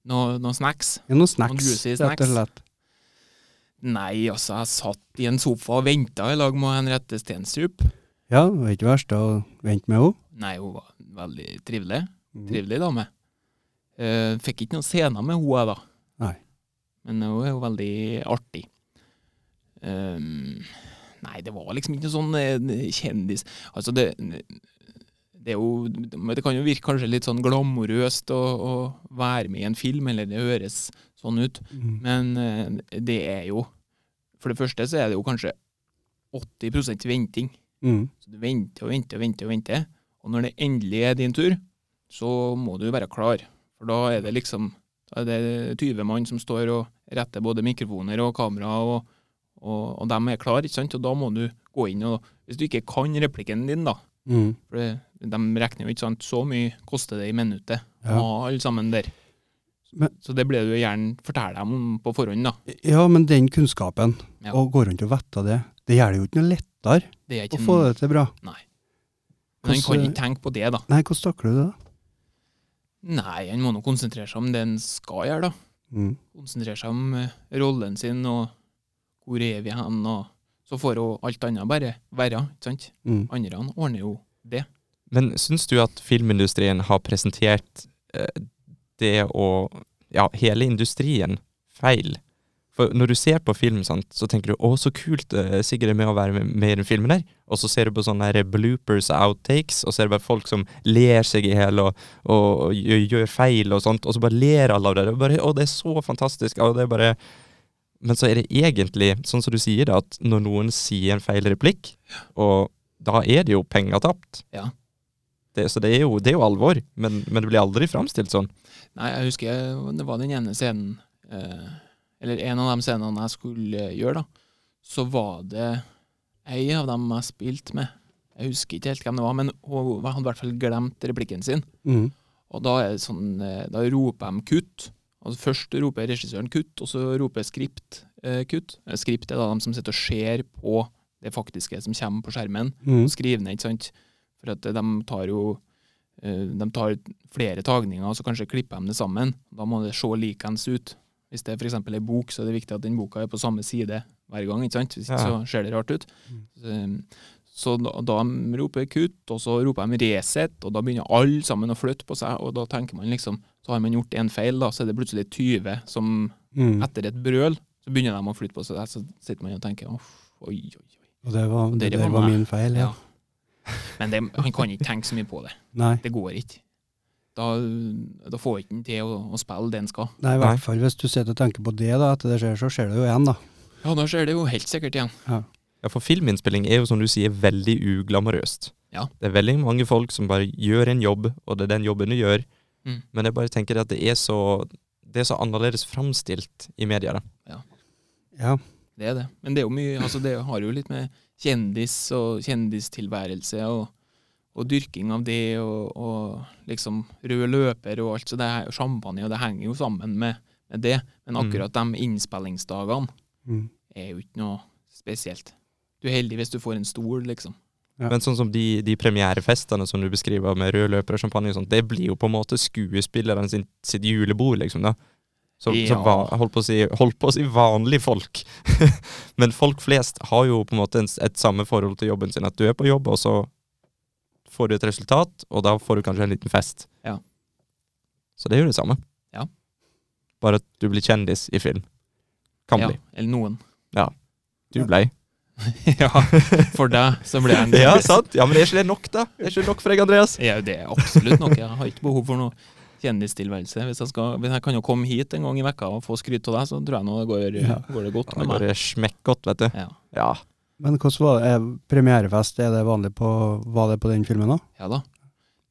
S3: noe, noe snacks?
S1: Er det noe snacks,
S3: juicy
S1: rett og
S3: snacks?
S1: slett.
S3: Nei, altså, jeg satt i en sofa og venta i lag med Henriette Stenstrup.
S1: Ja, det er ikke verst å vente med henne.
S3: Nei, hun var veldig trivelig.
S1: Mhm.
S3: Trivelig dame. Eh, fikk ikke noen scener med henne, jeg, da.
S1: Nei.
S3: Men hun er jo veldig artig. Ehm, nei, det var liksom ikke noe sånn eh, kjendis Altså, det, det er jo men Det kan jo virke kanskje litt sånn glamorøst å, å være med i en film, eller det høres sånn ut,
S1: Mhm.
S3: men eh, det er jo For det første så er det jo kanskje 80 venting.
S1: Mhm.
S3: Så du venter og venter og venter, og venter. Og når det endelig er din tur, så må du være klar. For da er det liksom da er det 20 mann som står og retter både mikrofoner og kamera, og, og, og de er klare, ikke sant? Og da må du gå inn og Hvis du ikke kan replikken din, da
S1: Mhm.
S3: For det, de regner jo ikke sant, så mye koster det i minuttet.
S1: Ja.
S3: Ja. Alle sammen der.
S1: Men-
S3: så det ble du gjerne fortelle dem om på forhånd, da.
S1: Ja, men den kunnskapen,
S3: Ja.
S1: å gå rundt og vite det, det gjør det jo ikke noe lettere
S3: Det er
S1: å
S3: ikke
S1: få
S3: en,
S1: det til bra.
S3: men han kan
S1: hvordan-
S3: ikke tenke på det, da.
S1: Nei, hvordan takler du det? da?
S3: Nei, han må nå konsentrere seg om det han skal gjøre, da.
S1: Mm.
S3: konsentrere seg om eh, rollen sin og hvor er vi hen, og så får jo alt annet bare være, ikke sant?
S1: Mm.
S3: Andre han ordner jo det.
S2: Men syns du at filmindustrien har presentert eh, det å Ja, hele industrien feil? For når du ser på film, sant, så tenker du 'Å, så kult eh, Sigurd er med å være med, med i den filmen der'. Og så ser du på sånne her bloopers og outtakes, og så er det bare folk som ler seg i hjel og, og, og gjør, gjør feil og sånt, og så bare ler alle av det. Og bare, 'Å, det er så fantastisk'. Og det er bare Men så er det egentlig, sånn som du sier, da, at når noen sier en feil replikk, og da er det jo penger tapt. Det, så det er, jo, det er jo alvor, men, men det blir aldri framstilt sånn.
S3: Nei, jeg husker jeg- det var den ene scenen, eh, eller en av de scenene jeg skulle gjøre, da. Så var det ei av dem jeg spilte med. Jeg husker ikke helt hvem det var, men hun hadde i hvert fall glemt replikken sin.
S1: Mm.
S3: Og da, er det sånn, eh, da roper de kutt. Altså først roper regissøren kutt, og så roper skript eh, kutt. Eh, Skript er da de som sitter og ser på det faktiske som kommer på skjermen.
S1: Mm.
S3: Og skriver ned, ikke sant. For at eh, de tar jo eh, de tar flere tagninger, og så kanskje klipper de det sammen. Da må det se likeens ut. Hvis det f.eks. er en bok, så er det viktig at den boka er på samme side hver gang. ikke sant? Hvis ikke
S2: Ja.
S3: så ser det rart ut.
S1: Mm.
S3: Så- Så da, da roper jeg kutt, og så roper de Resett, og da begynner alle sammen å flytte på seg. Og da tenker man liksom Så har man gjort en feil, da, så er det plutselig 20 som
S1: Mm.
S3: etter et brøl så begynner de å flytte på seg. Så sitter man og tenker uff, oi, oi, oi.
S1: Og det var, det
S3: Dere
S1: der
S3: var
S1: var
S3: meg.
S1: min feil, ja.
S3: Ja. Men det, han kan ikke tenke så mye på det.
S1: Nei.
S3: Det går ikke. Da, da får ikke han til å, å spille det han skal.
S1: Nei, i
S2: Nei.
S1: hvert fall hvis du sitter og tenker på det, da, etter det skjer, så skjer det jo igjen, da.
S3: Ja, da skjer det jo helt sikkert igjen.
S2: Ja, For filminnspilling er jo, som du sier, veldig uglamorøst.
S3: Ja.
S2: Det er veldig mange folk som bare gjør en jobb, og det er den jobben du gjør.
S3: Mm.
S2: Men jeg bare tenker at det er så, det er så annerledes framstilt i media. da.
S1: Ja.
S3: Det er det. Men det er jo mye Altså, det har jo litt med kjendis og kjendistilværelse og, og dyrking av det, og, og liksom rød løper og alt, så det er jo champagne, og det henger jo sammen med, med det. Men
S2: Mm.
S3: akkurat de innspillingsdagene
S1: Mm.
S3: er jo ikke noe spesielt. Du er heldig hvis du får en stol, liksom.
S1: Ja.
S2: Men sånn som de, de premierefestene som du beskriver med rød løper og champagne og sånt, det blir jo på en måte skuespilleren sin, sitt julebord, liksom, da. Som, som
S3: Ja.
S2: va, holdt, på å si, holdt på å si vanlige folk. Men folk flest har jo på en måte en, s- et samme forhold til jobben sin, at du er på jobb, og så får du et resultat, og da får du kanskje en liten fest.
S3: Ja.
S2: Så det er jo det samme.
S3: Ja.
S2: Bare at du blir kjendis i film. Kan
S3: ja,
S2: bli.
S3: eller noen.
S2: Du blei.
S3: ja, for deg så blir jeg en
S2: Ja,
S3: kompis.
S2: sant? Ja, men det er ikke det nok, da? Det er ikke det nok for deg, Andreas?
S3: Ja, det er absolutt noe. Jeg har ikke behov for noe kjendistilværelse. Hvis jeg, skal, hvis jeg kan jo komme hit en gang i vekka og få skryt av deg, så tror jeg nå det går,
S1: Ja.
S3: går det godt
S2: Ja, det
S3: med meg.
S2: går smekkgodt, vet du.
S3: Ja.
S2: Ja.
S1: Men hvordan var det? Er Premierefest, er det vanlig på, var det på den filmen òg?
S3: ja da.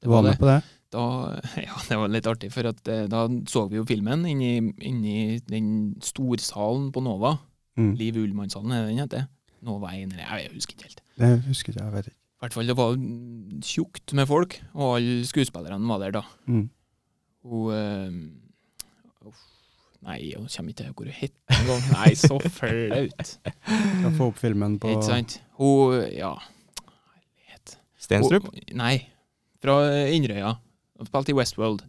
S1: Du var med på det?
S3: Da, ja, det var litt artig, for at, eh, da så vi jo filmen inni, inni den storsalen på Nova.
S1: Mm.
S3: Liv Ullmannshallen, er det den heter? Nova 1, eller jeg husker ikke helt.
S1: Det husker ikke jeg, jeg vet ikke.
S3: I hvert fall det var mm, tjukt med folk, og alle skuespillerne var der da.
S1: Mm.
S3: Hun eh, uff, Nei, jeg kommer ikke til hvor hun heter engang. Nei, så flaut.
S1: Skal få opp filmen på
S3: Ikke sant? Hun Ja.
S2: Stenstrup?
S3: Hun- Nei. Fra Inderøya. Hun spilte i Westworld.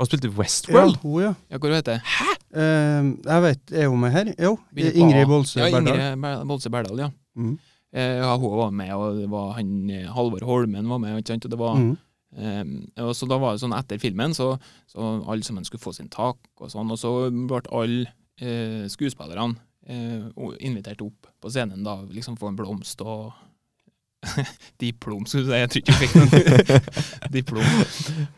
S2: Har spilt i
S1: Ja,
S2: Westworld?
S1: hun, ja.
S3: Ja, hva hun heter hun?
S1: Eh, jeg vet, er hun med her? Jo,
S3: Begynner på A.
S1: Ingrid Bolse
S3: Ja,
S1: Berdal.
S3: Ingrid Ber- Bolse Berdal, ja.
S1: Mm.
S3: Eh, ja. Hun var med, og det var han eh, Halvor Holmen var med, ikke sant. Og det var
S1: Mm.
S3: Um, og så da var det sånn etter filmen, så, så alle sammen skulle få sin tak og sånn, og så ble alle eh, skuespillerne eh, o- invitert opp på scenen da, liksom få en blomst og diplom, skulle jeg si. Jeg tror ikke jeg fikk noen diplom.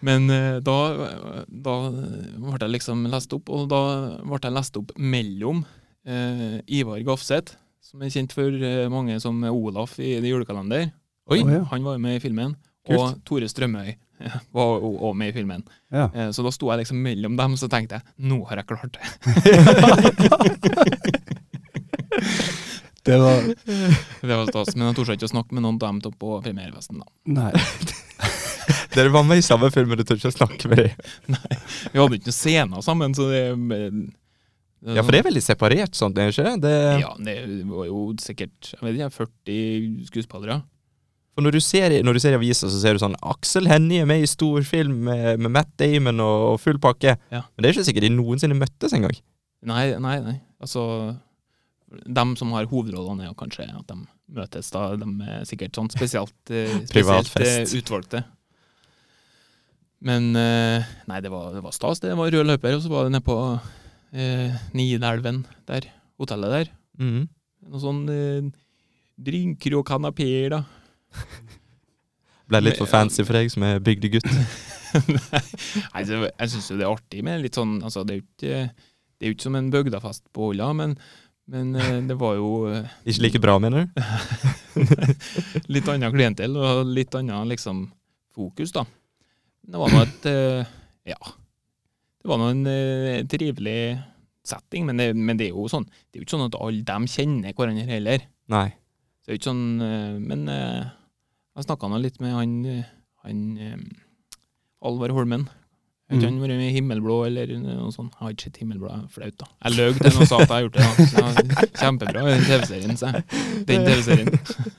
S3: Men eh, da, da ble jeg liksom lest opp, og da ble jeg lest opp mellom eh, Ivar Gafseth, som er kjent for eh, mange som Olaf i The Julekalender.
S2: Oi.
S1: Å, ja.
S3: Han var jo med i filmen.
S2: Kult.
S3: Og Tore Strømøy var jo også med i filmen.
S1: Ja.
S3: Eh, Så da sto jeg liksom mellom dem, så tenkte jeg nå har jeg klart det.
S1: Det var
S3: Det var stas. Men jeg torde ikke å snakke med noen av dem til på premierefesten, da.
S1: Nei.
S2: Dere var med i samme film, men du tør ikke å snakke med dem.
S3: Vi hadde ikke noen scener sammen, så det eh,
S2: Ja, for det er veldig separert sånt, er det ikke det? det?
S3: Ja, det var jo sikkert jeg vet ikke, 40 skuespillere.
S2: For når du, ser, i- når du ser i avisa, så ser du sånn Aksel Hennie er med i stor film med, med Matt Damon og, og full pakke.
S3: Ja.
S2: Men det er ikke sikkert de noensinne møttes engang.
S3: Nei, nei, nei. Altså dem som har hovedrollene, er jo kanskje at de møtes, da. De er sikkert sånn spesielt, eh,
S2: Privat
S3: spesielt eh,
S2: fest.
S3: utvalgte. Men eh, nei, det var, det var stas. Det var rød løper, og så var det nede på eh, Nidelven der. Hotellet der.
S2: Mhm.
S3: Noe sånn eh, drinker og kanapeer, da.
S2: Ble litt for
S3: Men-
S2: fancy for deg som er bygdegutt.
S3: Nei, så, jeg syns jo det er artig med litt sånn altså, det, er jo ikke, det er jo ikke som en bygdafest på Olla, men, men eh, det var jo eh,
S2: Ikke like bra, mener du?
S3: litt annen klientell og litt annen liksom, fokus, da. Men det var nå et eh, Ja. Det var nå en eh, trivelig setting, men det, men det er jo sånn Det er jo ikke sånn at alle dem kjenner hverandre heller.
S2: Nei.
S3: Så det er jo ikke sånn eh, Men eh, jeg snakka nå litt med han, eh, han eh, Alvar Holmen. Har ikke
S1: Mm.
S3: han vært med i Himmelblå eller noe sånt? Jeg har ikke sett Himmelblå, jeg er flaut, da. Jeg løy til han og sa at jeg har gjort det. da. Så det var Kjempebra, den TV-serien, sa jeg. Den TV-serien.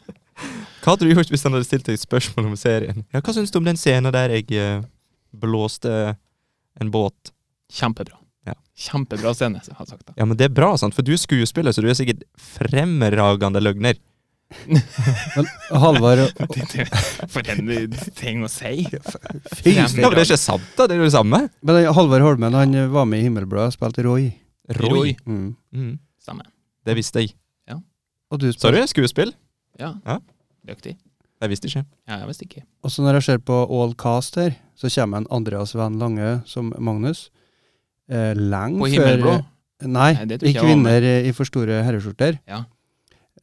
S2: Hva hadde du gjort hvis han hadde stilt deg et spørsmål om serien? Ja, hva syns du om den scenen der jeg eh, blåste en båt?
S3: Kjempebra.
S2: Ja.
S3: Kjempebra scene, har jeg sagt. da.
S2: Ja, men det er bra, sant? For du er skuespiller, så du er sikkert fremragende løgner.
S1: Men Halvard og-
S3: Det- det- For en eh, ting å si!
S1: Fy
S3: Fremragende.
S2: Ja, men det er ikke sant, da. Det er jo det samme.
S1: Men den Halvard Holmen han eh, var med i Himmelbladet og spilte Roy.
S3: Roy.
S1: Mm.
S2: Mm,
S3: Stemmer.
S2: det visste jeg.
S1: Og du
S2: Sa du
S1: spilte
S2: det? Skuespill?
S3: Ja.
S2: Ja.
S3: Dyktig.
S2: Jeg visste ikke.
S3: Ja, jeg visste ikke.
S1: Og så når jeg ser på All Cast her, så kommer en Andreas Venn Lange som Magnus. Eh, lenge
S3: På
S1: før
S3: himmelblå.
S1: Nei,
S3: Nei, det tror ikke
S1: ikke
S3: jeg var med.
S1: vinner i for store herreskjorter.
S3: Ja.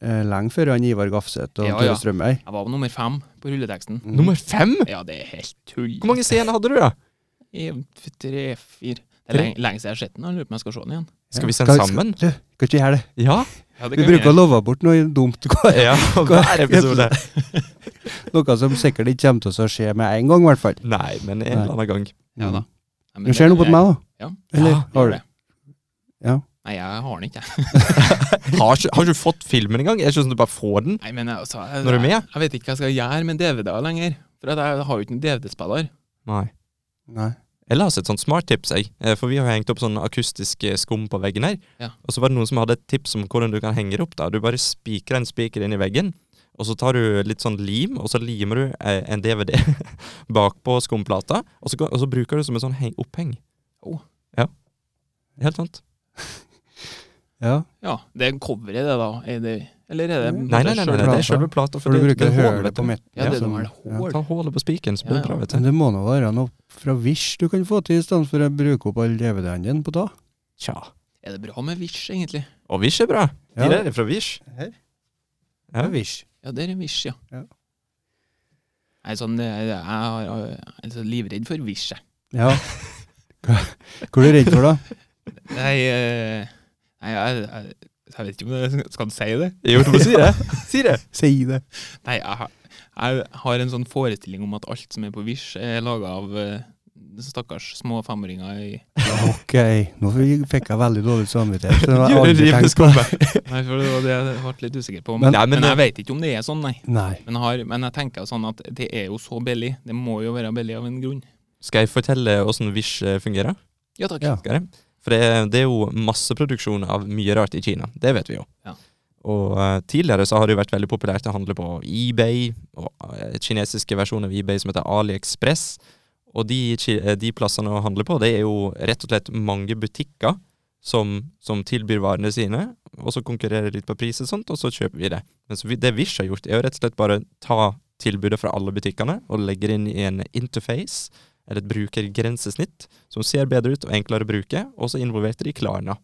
S1: Eh, lenge før han Ivar Gafseth og
S3: Ja, ja.
S1: Tore Strømøy.
S3: Jeg var nummer fem på rulleteksten.
S1: Mm.
S2: Nummer fem?!
S3: Ja, det er helt tull.
S2: Hvor mange scener hadde du, da?
S3: En, Tre, fire Det er lenge, lenge siden jeg har sett den. Jeg lurer på om jeg skal se den igjen.
S2: Skal vi sende
S1: Skal- skal-
S2: sammen?
S1: Du, kan ikke gjøre det.
S2: Ja.
S3: Ja, det
S1: Vi
S3: kan vi
S1: bruker å
S3: gjøre.
S1: love bort noe dumt. Hver
S2: ja hver episode.
S1: Noe som sikkert ikke kommer til å skje med en gang, i hvert fall.
S2: Nei, men en eller annen gang.
S3: Ja da. Nei, men
S1: Det skjer
S3: det-
S1: noe på meg, da.
S3: Ja.
S1: Eller
S2: Ja,
S1: har du?
S3: det.
S1: Ja.
S3: Nei, jeg har den ikke, jeg.
S2: Har ikke, har ikke du fått filmen engang? Er det ikke sånn at du bare får den?
S3: Nei, men jeg, altså, jeg,
S2: Når du er med?
S3: Jeg vet ikke hva jeg skal gjøre med DVD-er lenger. For at jeg har jo ikke en DVD-spiller.
S2: Nei.
S1: Nei.
S2: Eller altså et sånt smarttips, jeg. Eh, For vi har hengt opp sånn akustisk eh, skum på veggen her.
S3: Ja.
S2: Og så var det noen som hadde et tips om hvordan du kan henge det opp. da. Du bare spikrer en spiker inn i veggen, og så tar du litt sånn lim, og så limer du eh, en DVD bakpå skumplata, og så, kan- og så bruker du det som en sånn heng oppheng.
S3: Oh.
S2: Ja. Helt sant.
S1: Ja.
S3: Ja, det er en cover i det, da. Er det, eller er det
S1: Nei,
S2: Mm. Nei, nei, nei, nei, nei det er
S1: Plata.
S2: selve plata.
S1: For du
S2: det- det
S1: bruker
S2: er hål,
S1: hølet
S2: vet
S1: på
S2: du.
S1: midten.
S3: Ja, det er
S1: sånn,
S3: noe
S1: ja.
S3: hål.
S2: Ta hålet på spikeren, så blir det
S3: Ja,
S2: bra, vet
S1: Men
S2: du.
S1: det må nå være noe fra Wish du kan få til, i stedet for å bruke opp all DVD-en din på da.
S2: Tja.
S3: Er det bra med Wish, egentlig?
S2: Og Wish er bra.
S1: Ja.
S2: De der er fra Wish.
S1: Ja, Wish.
S3: Ja, det er Wish, ja.
S1: Ja.
S3: Nei, sånn, jeg, jeg, har- jeg er så livredd for Wish, jeg.
S1: Ja. Hva hva er du redd for, da?
S3: Nei, eh, nei jeg, jeg, jeg vet ikke om det Skal du si det?
S2: Jo, du må si det. Si det.
S1: Si det.
S3: Nei, jeg, har- jeg har en sånn forestilling om at alt som er på Wish, er laga av eh, stakkars små femåringer i
S1: Ok, nå f- fikk jeg veldig dårlig samvittighet. for Det har jeg
S2: Gjør
S1: aldri
S2: det rimelig
S1: tenkt på.
S3: Nei, for det var det jeg ble litt usikker på.
S1: Men-
S3: Men,
S2: Nei, men
S3: men,
S2: det-
S3: jeg vet ikke om det er sånn, nei.
S1: Nei.
S3: Men, har, men jeg tenker sånn at det er jo så billig. Det må jo være billig av en grunn.
S2: Skal jeg fortelle åssen Wish eh, fungerer?
S3: Ja takk.
S1: Ja.
S2: Skal jeg? For det, det er jo masseproduksjon av mye rart i Kina. Det vet vi jo.
S3: Ja.
S2: Og eh, tidligere så har det jo vært veldig populært å handle på eBay, og eh, kinesiske versjoner av eBay som heter AliExpress. Og de, ki- eh, de plassene å handle på, det er jo rett og slett mange butikker som, som tilbyr varene sine, og så konkurrerer litt på pris og sånt, og så kjøper vi det. Men så vi, det Wish har gjort, er jo rett og slett bare ta tilbudet fra alle butikkene og legger inn i en interface, eller et brukergrensesnitt, som ser bedre ut og enklere å bruke, og så involverte de Klarna.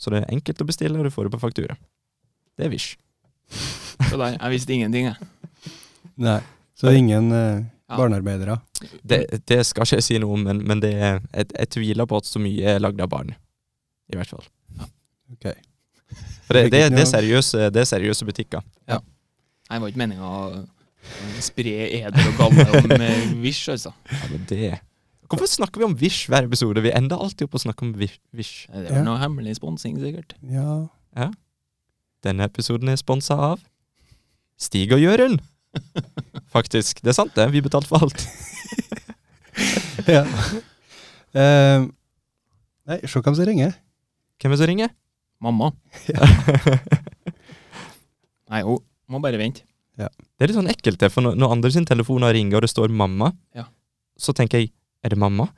S2: Så det er enkelt å bestille, og du får det på faktura. Det er Wish.
S3: Så der, jeg visste ingenting, jeg.
S1: Nei. Så ingen eh,
S3: Ja.
S1: barnearbeidere.
S2: Det, det skal ikke jeg si noe om, men, men det er, jeg, jeg tviler på at så mye er lagd av barn. I hvert fall.
S1: Ok.
S2: For det, det, det, er seriøse, det er seriøse butikker.
S3: Nei, Det var ikke meninga å eh, spre eder og galle om eh, Wish, altså.
S2: Ja, men det Hvorfor snakker vi om Wish hver episode? Vi ender alltid opp å snakke om Wish- Wish.
S3: Det er
S1: Ja.
S3: vel noe hemmelig sponsing, sikkert.
S1: Ja.
S2: Denne episoden er sponsa av Stig og Jørund. Faktisk. Det er sant, det. Vi betalte for alt.
S1: ja. Eh, nei, se hvem som ringer.
S2: Hvem er det som ringer?
S3: Mamma. Nei, hun må bare vente.
S2: Det er litt sånn ekkelt, det, for når, når andre sin telefon har ringer og det står 'mamma',
S3: Ja.
S2: så tenker jeg 'er det mamma'?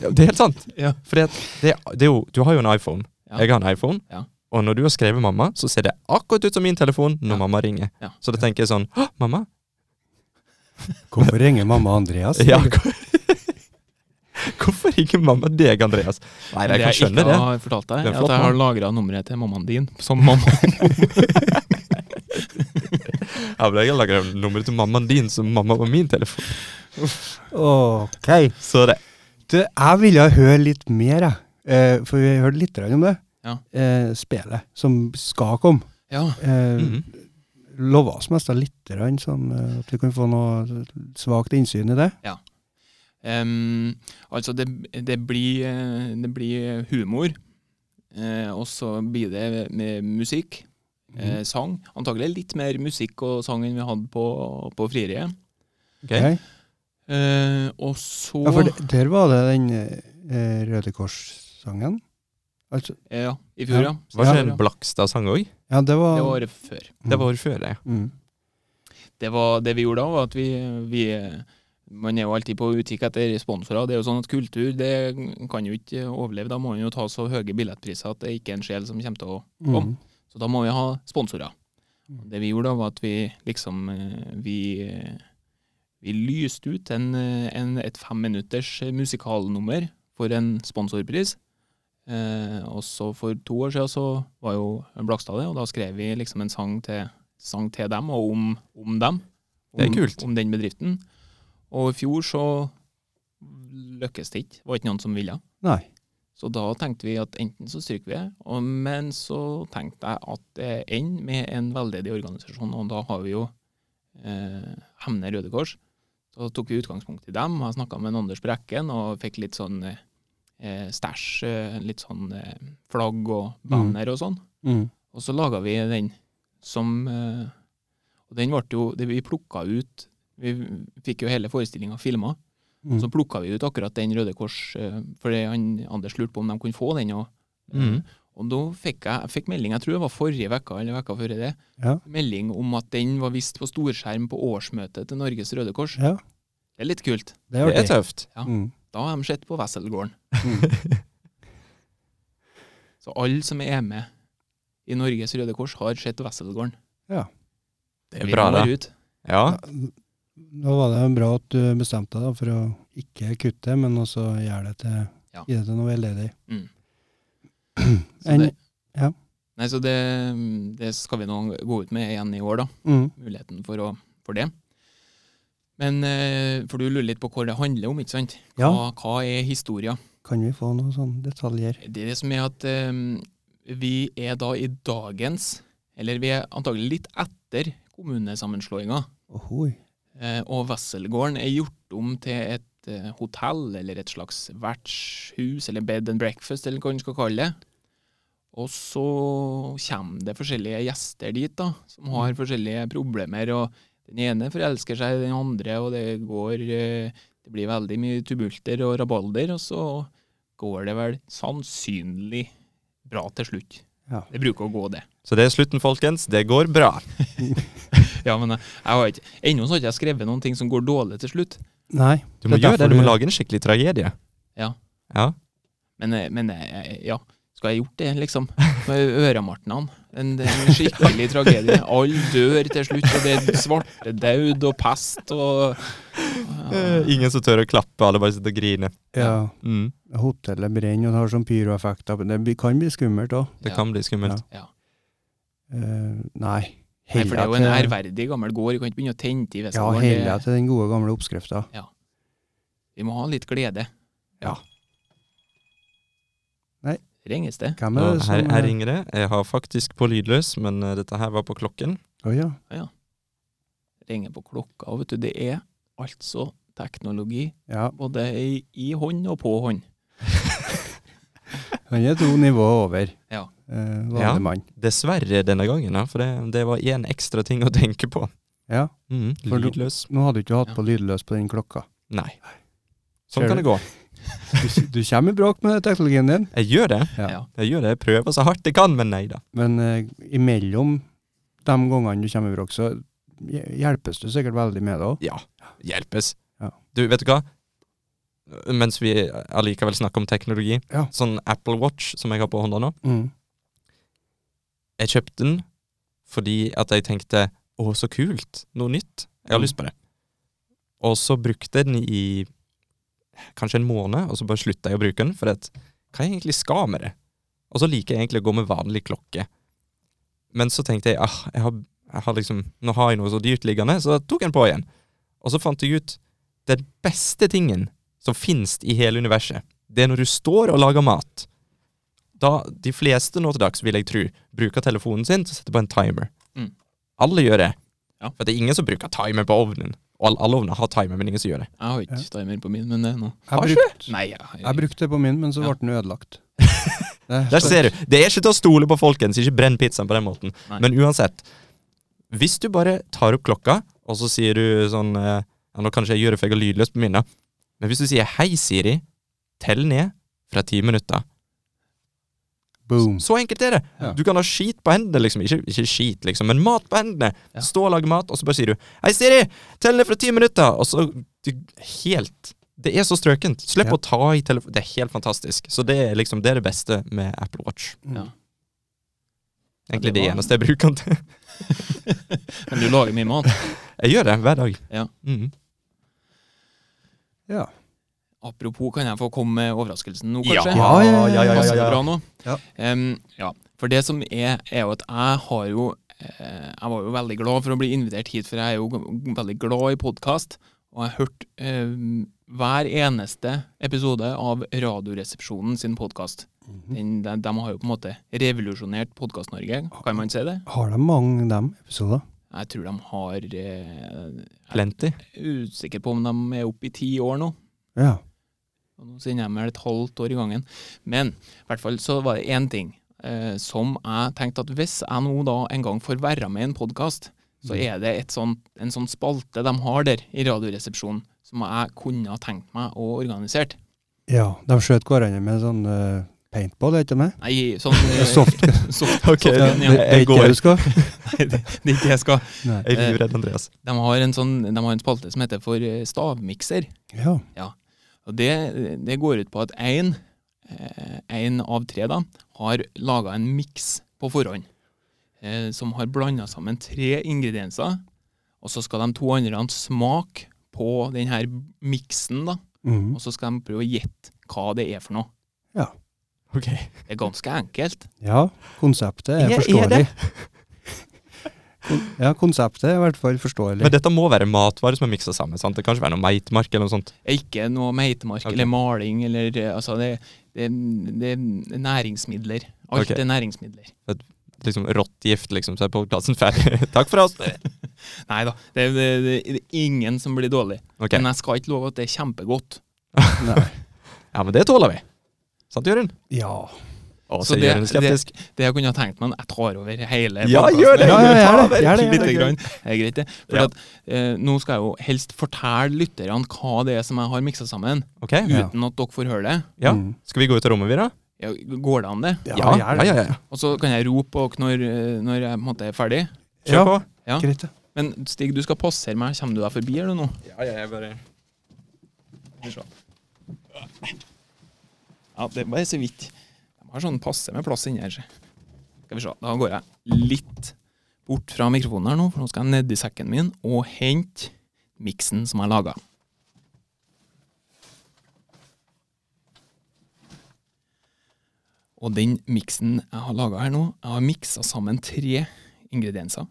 S2: Ja, det er helt sant.
S3: Ja.
S2: For det, det, det er jo, du har jo en iPhone.
S3: Ja.
S2: Jeg har en iPhone.
S3: Ja.
S2: Og når du har skrevet 'mamma', så ser det akkurat ut som min telefon når
S3: Ja.
S2: mamma ringer.
S3: Ja.
S2: Så da tenker jeg sånn 'Å, mamma'?
S1: Hvorfor ringer mamma Andreas?
S2: Ja. Hvorfor ringer mamma deg, Andreas? Nei, jeg kan skjønne
S3: Det
S2: det.
S3: jeg ikke har fortalt deg,
S2: Det er
S3: er
S2: flott,
S3: at jeg har lagra nummeret til mammaen din som mamma.
S2: Ja, men jeg har lagra nummeret til mammaen din som mamma på min telefon.
S1: Ok.
S2: Så det
S1: Du, jeg ville høre litt mer, jeg. Eh, for vi hørte litt grann om det.
S3: Ja.
S1: Eh, spelet som skal komme.
S3: Ja.
S1: Eh,
S2: Mhm.
S1: Lova oss mest av litt, grann, sånn, eh, at vi kan få noe svakt innsyn i det.
S3: Ehm, altså, det, det, blir, eh, det blir humor, eh, og så blir det med musikk,
S1: Mhm.
S3: eh, sang. Antagelig litt mer musikk og sang enn vi hadde på, på frieriet.
S2: Ok.
S1: Ok.
S3: Eh, og så
S1: Ja, for det, der var det den eh, Røde Kors-sangen. Altså,
S3: Eh, ja, i fjor, ja.
S2: Var ikke det
S3: Ja.
S2: en Blakstad-sang òg?
S1: ja, det var
S3: Det var året før.
S2: Det var året før, det.
S1: mm.
S3: det, var, det vi gjorde da, var at vi, vi Man er jo alltid på utkikk etter sponsorer. Det er jo sånn at kultur det kan jo ikke overleve. Da må man jo ta så høye billettpriser at det ikke er en sjel som kommer til å
S1: Mm.
S3: Så da må vi ha sponsorer.
S2: Mm.
S3: Det vi gjorde da, var at vi liksom eh, Vi, eh, vi lyste ut en, eh, en, et femminutters musikalnummer for en sponsorpris. Eh, og så for to år siden så var jo Blakstad det, og da skrev vi liksom en sang til, sang til dem og om, om dem. Om,
S2: Det er kult.
S3: Om den bedriften. Og i fjor så lykkes det ikke. Det var ikke noen som ville.
S1: Nei.
S3: Så da tenkte vi at enten så stryker vi det, og- men så tenkte jeg at det ender med en veldedig organisasjon, og da har vi jo eh, Hemne Røde Kors. Så tok vi utgangspunkt i dem, og jeg snakka med Anders Brekken og fikk litt sånn eh, stæsj, eh, litt sånn eh, flagg og banner og sånn.
S1: Mm.
S3: Og så laga vi den som eh, Og den ble jo det Vi plukka ut Vi fikk jo hele forestillinga filma.
S1: Mm.
S3: Så plukka vi ut akkurat den Røde Kors, eh, fordi han, Anders lurte på om de kunne få den. Og,
S1: Mm.
S2: Mhm.
S3: og da fikk jeg, jeg fikk melding, jeg tror det var forrige uke eller uka før det,
S1: Ja.
S3: melding om at den var vist på storskjerm på årsmøtet til Norges Røde Kors.
S1: ja.
S3: Det er litt kult.
S1: Det
S2: Det
S1: er
S2: er
S1: artig.
S2: tøft.
S3: ja.
S1: Mm.
S3: Da har de sett på Wesselgården.
S1: Mm.
S3: Så alle som er med i Norges Røde Kors, har sett Wesselgården.
S1: Ja.
S2: Det er bra, da.
S3: Ut.
S2: Ja.
S1: Da var det bra at du bestemte deg da, for å ikke kutte, men også gjøre det til,
S3: Ja.
S1: gi det til noe veldedig.
S3: Mm. Så
S1: En,
S3: det,
S1: ja.
S3: Nei, så det, det skal vi nå gå ut med igjen i år, da.
S1: mm,
S3: Muligheten for, å, for det. Men eh, for du lurer litt på hva det handler om, ikke sant?
S1: ja,
S3: Hva, hva er historia?
S1: kan vi få noen sånne detaljer?
S3: Det er det som er at eh, vi er da i dagens, eller vi er antagelig litt etter kommunesammenslåinga.
S1: Ohoi.
S3: Eh, og Wesselgården er gjort om til et eh, hotell, eller et slags vertshus, eller bed and breakfast, eller hva en skal kalle det. Og så kommer det forskjellige gjester dit, da, som har forskjellige problemer. og Den ene forelsker seg i den andre, og det går eh, Det blir veldig mye tumulter og rabalder, og så går det vel sannsynlig bra til slutt.
S1: Ja.
S3: Det bruker å gå, det.
S2: Så det er slutten, folkens. Det går bra.
S3: Ja, men jeg, jeg har ikke, Ennå så har ikke jeg skrevet noen ting som går dårlig til slutt.
S1: Nei.
S2: Du må
S1: Det er
S2: gjøre
S1: derfor
S2: det. Du må
S1: du-
S2: lage en skikkelig tragedie.
S3: Ja.
S2: Ja.
S3: Men, eh, men eh, ja, skal jeg gjort det, liksom? Med øremartnene. En, en skikkelig tragedie. Alle dør til slutt, og det er svartedaud og pest og
S2: Eh, ingen som tør å klappe, alle bare sitter og griner.
S1: Ja.
S2: Mm.
S1: Hotellet brenner, og det har sånn pyroeffekter. men Det bli- kan bli skummelt òg.
S2: Det
S3: Ja.
S2: kan bli skummelt.
S3: Ja.
S1: nei.
S3: Nei, for det er jo en
S1: til,
S3: ærverdig gammel gård, vi kan ikke begynne å tente i
S1: ja,
S3: Vestgården.
S1: heller
S3: Det-
S1: til den gode, gamle oppskrifta.
S3: vi må ha litt glede.
S1: Ja. Nei.
S3: Ringes det?
S1: Hvem er sånn,
S2: Og
S1: det
S2: her,
S1: som eh,
S2: her ringer det. Jeg har faktisk på lydløs, men eh, dette her var på klokken.
S1: Å ja.
S3: Ringer på klokka, og vet du. Det er altså teknologi
S1: ja.
S3: både i, i hånd og på hånd.
S1: Han er to nivåer over.
S3: Ja.
S1: Eh,
S2: Ja.
S1: vanlig mann.
S2: Dessverre denne gangen, ja, for det, det var én ekstra ting å tenke på.
S1: Ja.
S2: Mm.
S1: For du-
S2: Lydløs.
S1: Nå hadde du ikke hatt
S3: Ja.
S1: på lydløs på den klokka.
S2: Nei.
S1: Ser
S2: Sånn kan
S1: du?
S2: det gå.
S1: Du, du kommer i bråk med teknologien din,
S2: Jeg gjør det.
S1: Ja.
S3: Ja.
S2: Jeg gjør det. Jeg prøver så hardt jeg kan, men nei da.
S1: men eh, imellom de gangene du kommer i bråk, så hj- hjelpes du sikkert veldig med det òg.
S2: Ja, hjelpes.
S1: Ja.
S2: Du, vet du hva? Mens vi allikevel snakker om teknologi,
S1: Ja.
S2: sånn Apple Watch som jeg har på hånda nå,
S1: Mm.
S2: jeg kjøpte den fordi at jeg tenkte å, så kult, noe nytt. Jeg har
S1: Mm.
S2: lyst på det. Og så brukte jeg den i kanskje en måned, og så bare slutta jeg å bruke den. For at, hva jeg egentlig skal med det? Og så liker jeg egentlig å gå med vanlig klokke. Men så tenkte jeg ah, jeg har, jeg har liksom, nå har jeg noe så dyrt liggende, så da tok jeg den på igjen. Og så fant jeg ut den beste tingen som finnes i hele universet, det er når du står og lager mat. Da, de fleste nå til dags, vil jeg tro, bruker telefonen sin til å sette på en timer.
S3: Mm.
S2: Alle gjør det.
S3: Ja.
S2: For det er ingen som bruker timer på ovnen. Og alle, alle ovner har timer, men ingen som gjør det.
S3: Jeg har ikke timer på min, men det er nå.
S2: Har
S1: Jeg,
S2: ikke
S1: brukte-
S3: Nei, jeg,
S1: jeg brukte det på min, men så
S3: Ja.
S1: ble den ødelagt.
S2: Der ser du. Det er ikke til å stole på, folkens. Ikke brenn pizzaen på den måten.
S3: Nei.
S2: Men uansett. Hvis du bare tar opp klokka, og så sier du sånn eh, ja, Nå kanskje jeg gjør det for jeg har lydløst på minnet. Men hvis du sier 'Hei, Siri', tell ned fra ti minutter.
S1: Boom.
S2: Så enkelt er det.
S1: Ja.
S2: Du kan ha skit på hendene, liksom. Ikke, ikke skit, liksom, men mat på hendene.
S3: Ja.
S2: Stå og lage mat, og så bare sier du 'Hei, Siri, tell ned fra ti minutter', og så du, Helt. Det er så strøkent. Slipp
S1: Ja.
S2: å ta i telefonen. Det er helt fantastisk. Så det er liksom det er det beste med Apple Watch.
S1: Mm.
S3: Ja.
S2: Egentlig
S3: Ja, det
S2: det
S3: var-
S2: eneste jeg bruker den til.
S3: Men du lager mye mat.
S2: Jeg gjør det hver dag.
S3: Ja.
S2: Mhm.
S1: Ja.
S3: Apropos, kan jeg få komme med overraskelsen nå,
S2: Ja,
S3: kanskje?
S1: Ja, ja, ja, ja,
S3: Passer det bra nå?
S1: Ja.
S3: Em, ja. For det som er, er jo at jeg har jo eh, Jeg var jo veldig glad for å bli invitert hit, for jeg er jo g- veldig glad i podkast. Og jeg hørte eh, hver eneste episode av Radioresepsjonen sin podkast.
S1: Mm.
S3: De, de har jo på en måte revolusjonert Podkast-Norge, kan man si det?
S1: Mm. Har de mange dem episoder?
S3: Jeg tror de har eh,
S2: Plenty.
S3: Jeg er usikker på om de er oppe i ti år nå.
S1: Ja.
S3: Og nå sender jeg meg et halvt år i gangen. Men i hvert fall så var det én ting eh, som jeg tenkte at hvis jeg nå da en gang får være med i en podkast, så er det et sånt, en sånn spalte de har der i Radioresepsjonen, som jeg kunne ha tenkt meg å organisere.
S1: ja. De skjøt hverandre med sånn eh, paintball, heter det?
S3: Nei, sånn eh,
S1: Soft.
S3: soft-
S2: Ok,
S3: soft-
S1: Ja,
S2: Ja,
S1: det,
S3: ja.
S1: det er
S2: jeg
S1: ikke
S2: går.
S1: det du skal?
S3: Nei, det det er ikke det jeg skal.
S1: Nei.
S2: Jeg er livredd, Andreas.
S3: De har en, sånn, de har en spalte som heter for eh, stavmikser.
S1: Ja.
S3: Og det, det går ut på at én av tre da, har laga en miks på forhånd. Eh, som har blanda sammen tre ingredienser. Og så skal de to andre smake på denne miksen, da.
S1: Mhm.
S3: Og så skal de prøve å gjette hva det er for noe.
S2: Ok.
S3: Det er ganske enkelt.
S1: Ja, konseptet er
S2: Ja, er
S1: forståelig. Kon- Ja, konseptet er i hvert fall forståelig.
S2: Men dette må være matvarer som er miksa sammen? sant? Det kan ikke være noe meitmark eller noe sånt?
S3: Det er Ikke noe meitemark
S2: Ok.
S3: eller maling eller eh, Altså, det, det, det er næringsmidler. Alt
S2: Ok.
S3: er næringsmidler.
S2: Liksom Rottgift, liksom, så er podkasten ferdig. Takk for oss!
S3: Nei da, det, er- det, det, det er ingen som blir dårlig.
S2: Ok,
S3: Men jeg skal ikke love at det er kjempegodt.
S1: Nei.
S2: Ja, men det tåler vi. Sant, Jørund?
S1: Ja.
S2: Å,
S3: Så
S2: så
S3: det-
S2: Jørund er skeptisk.
S3: Det jeg kunne ha tenkt meg, men jeg tar over hele
S2: Ja,
S3: podcasten.
S2: gjør
S1: Ja, ja, gjør det,
S2: det! Ta
S1: gjør det,
S2: over
S1: gjør
S2: lite
S1: det.
S2: grann.
S3: Det er greit, det. For
S2: Ja.
S3: at, eh, nå skal jeg jo helst fortelle lytterne hva det er som jeg har miksa sammen,
S2: Ok,
S1: Ja.
S3: uten at dere får høre det.
S2: ja.
S1: Mm.
S2: Skal vi gå ut av rommet, vi, da?
S3: Ja, går det an, det?
S1: Ja,
S2: ja,
S1: gjør det.
S2: ja, ja.
S3: Og så kan jeg rope og når, eh, når jeg på en måte er ferdig.
S2: Kjør
S1: Ja.
S2: på.
S3: ja.
S1: Greit, det.
S3: Men Stig, du skal passere meg. Kommer du deg forbi, eller noe?
S2: Ja, ja, jeg bare...
S3: sånn. Ja, det er bare så vidt. De har sånn passe med plass inni her. se. Skal vi se. Da går jeg litt bort fra mikrofonen her nå, for nå skal jeg ned i sekken min og hente miksen som jeg laga. Og den miksen jeg har laga her nå, jeg har miksa sammen tre ingredienser.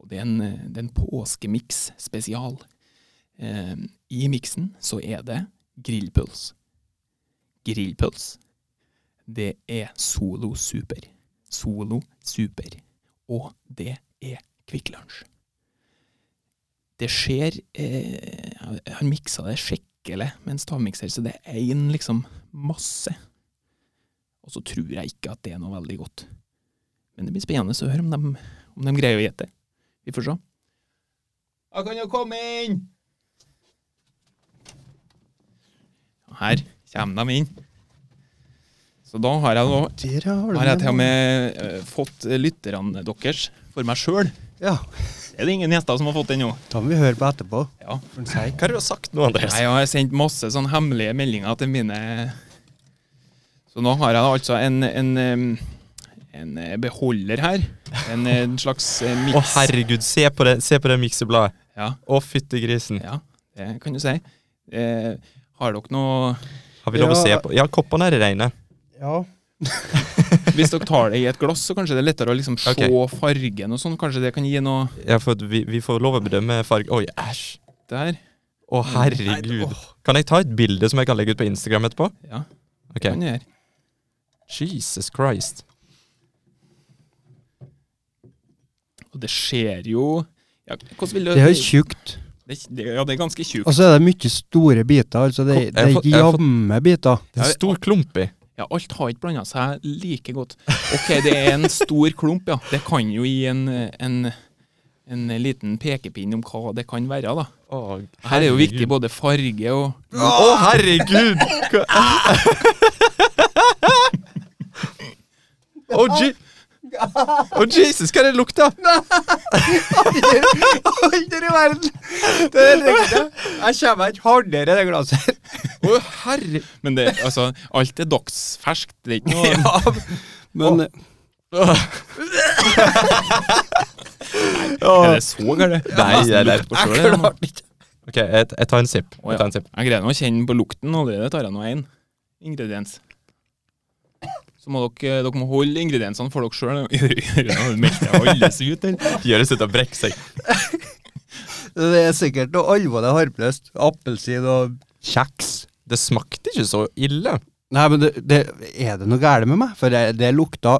S3: Og det er en, eh, det er en påskemiks spesial. Eh, I miksen så er det grillpuls grillpøls. Det er Solo Super. Solo Super. Og det er Kvikk Lunsj. Det skjer eh, Jeg har miksa det skikkelig med en stavmikser, så det er én liksom masse. Og så tror jeg ikke at det er noe veldig godt. Men det blir spennende å høre om de, om de greier å gjette. Vi får se. Da kan du komme inn! Og Her kommer de inn. Så da har jeg nå
S1: Der har du
S3: har jeg
S1: den.
S3: til og med eh, fått lytterne deres for meg sjøl.
S1: Ja,
S3: Det er det ingen gjester som har fått ennå.
S1: da må vi høre på etterpå.
S3: Ja.
S1: For en seig.
S2: Hva er det du har sagt nå, Andreas?
S3: Jeg har sendt masse sånn hemmelige meldinger til mine Så nå har jeg da altså en, en, em, en eh, beholder her. En, eh, en slags eh,
S2: Å,
S3: miks.
S2: herregud, se på det, se på det miksebladet.
S3: Ja,
S2: Å, fytti grisen.
S3: ja, det kan du si. Eh, har dere noe
S2: Har vi lov å se
S1: Ja.
S2: på? Ja, koppene er reine.
S1: Ja.
S3: Hvis dere tar det i et glass, så kanskje det er lettere å liksom se
S2: Ok.
S3: fargen og sånn. Kanskje det kan gi noe
S2: Ja, for at vi, vi får lov å bedømme farge. Oi, æsj.
S3: der?
S2: Å,
S1: Mm.
S2: herregud. Kan jeg ta et bilde som jeg kan legge ut på Instagram etterpå?
S3: Ja,
S2: Ok.
S3: det kan du gjøre.
S2: Jesus Christ.
S3: Og det skjer jo ja, Hvordan vil du
S1: Det er jo tjukt.
S3: det, det, Ja, det er ganske tjukt.
S1: Og så er det mye store biter. Altså det, det
S2: Jeg
S1: er
S2: får- jeg får-
S1: jevne biter.
S2: Det er en stor klump i.
S3: Ja, alt har ikke blanda seg like godt. Ok, det er en stor klump, ja. Det kan jo gi en, en, en liten pekepinn om hva det kan være, da.
S2: Å,
S3: Her er jo viktig både farge og
S2: Å, herregud! Hva- Å, je Å, Jesus, hva er det lukta?
S1: Aldri i verden! Det er riktig. Jeg kommer ikke hardere i det glasset.
S2: Å, herre...
S3: Men det, altså, alt er dagsferskt. Det er ikke noe
S1: Men eh,
S3: Er det så gærent?
S2: Nei,
S3: Jeg
S2: det er
S3: lukter på selv, jeg, nå.
S2: Ok, jeg, jeg tar en sipp.
S3: Å,
S2: Jeg
S3: ja.
S2: tar en sipp.
S3: Jeg greier nå å kjenne på lukten allerede. Tar jeg nå én ingrediens. Så må dere, eh, dere må holde ingrediensene for dere sjøl. Melder jeg alle seg ut, eller?
S2: Gjøres ut av brekk seg.
S1: Det er sikkert noe alvorlig harpløst. Appelsin og
S2: Kjeks. Det smakte ikke så ille.
S1: Nei, men det, det, er det noe galt med meg? For det, det lukta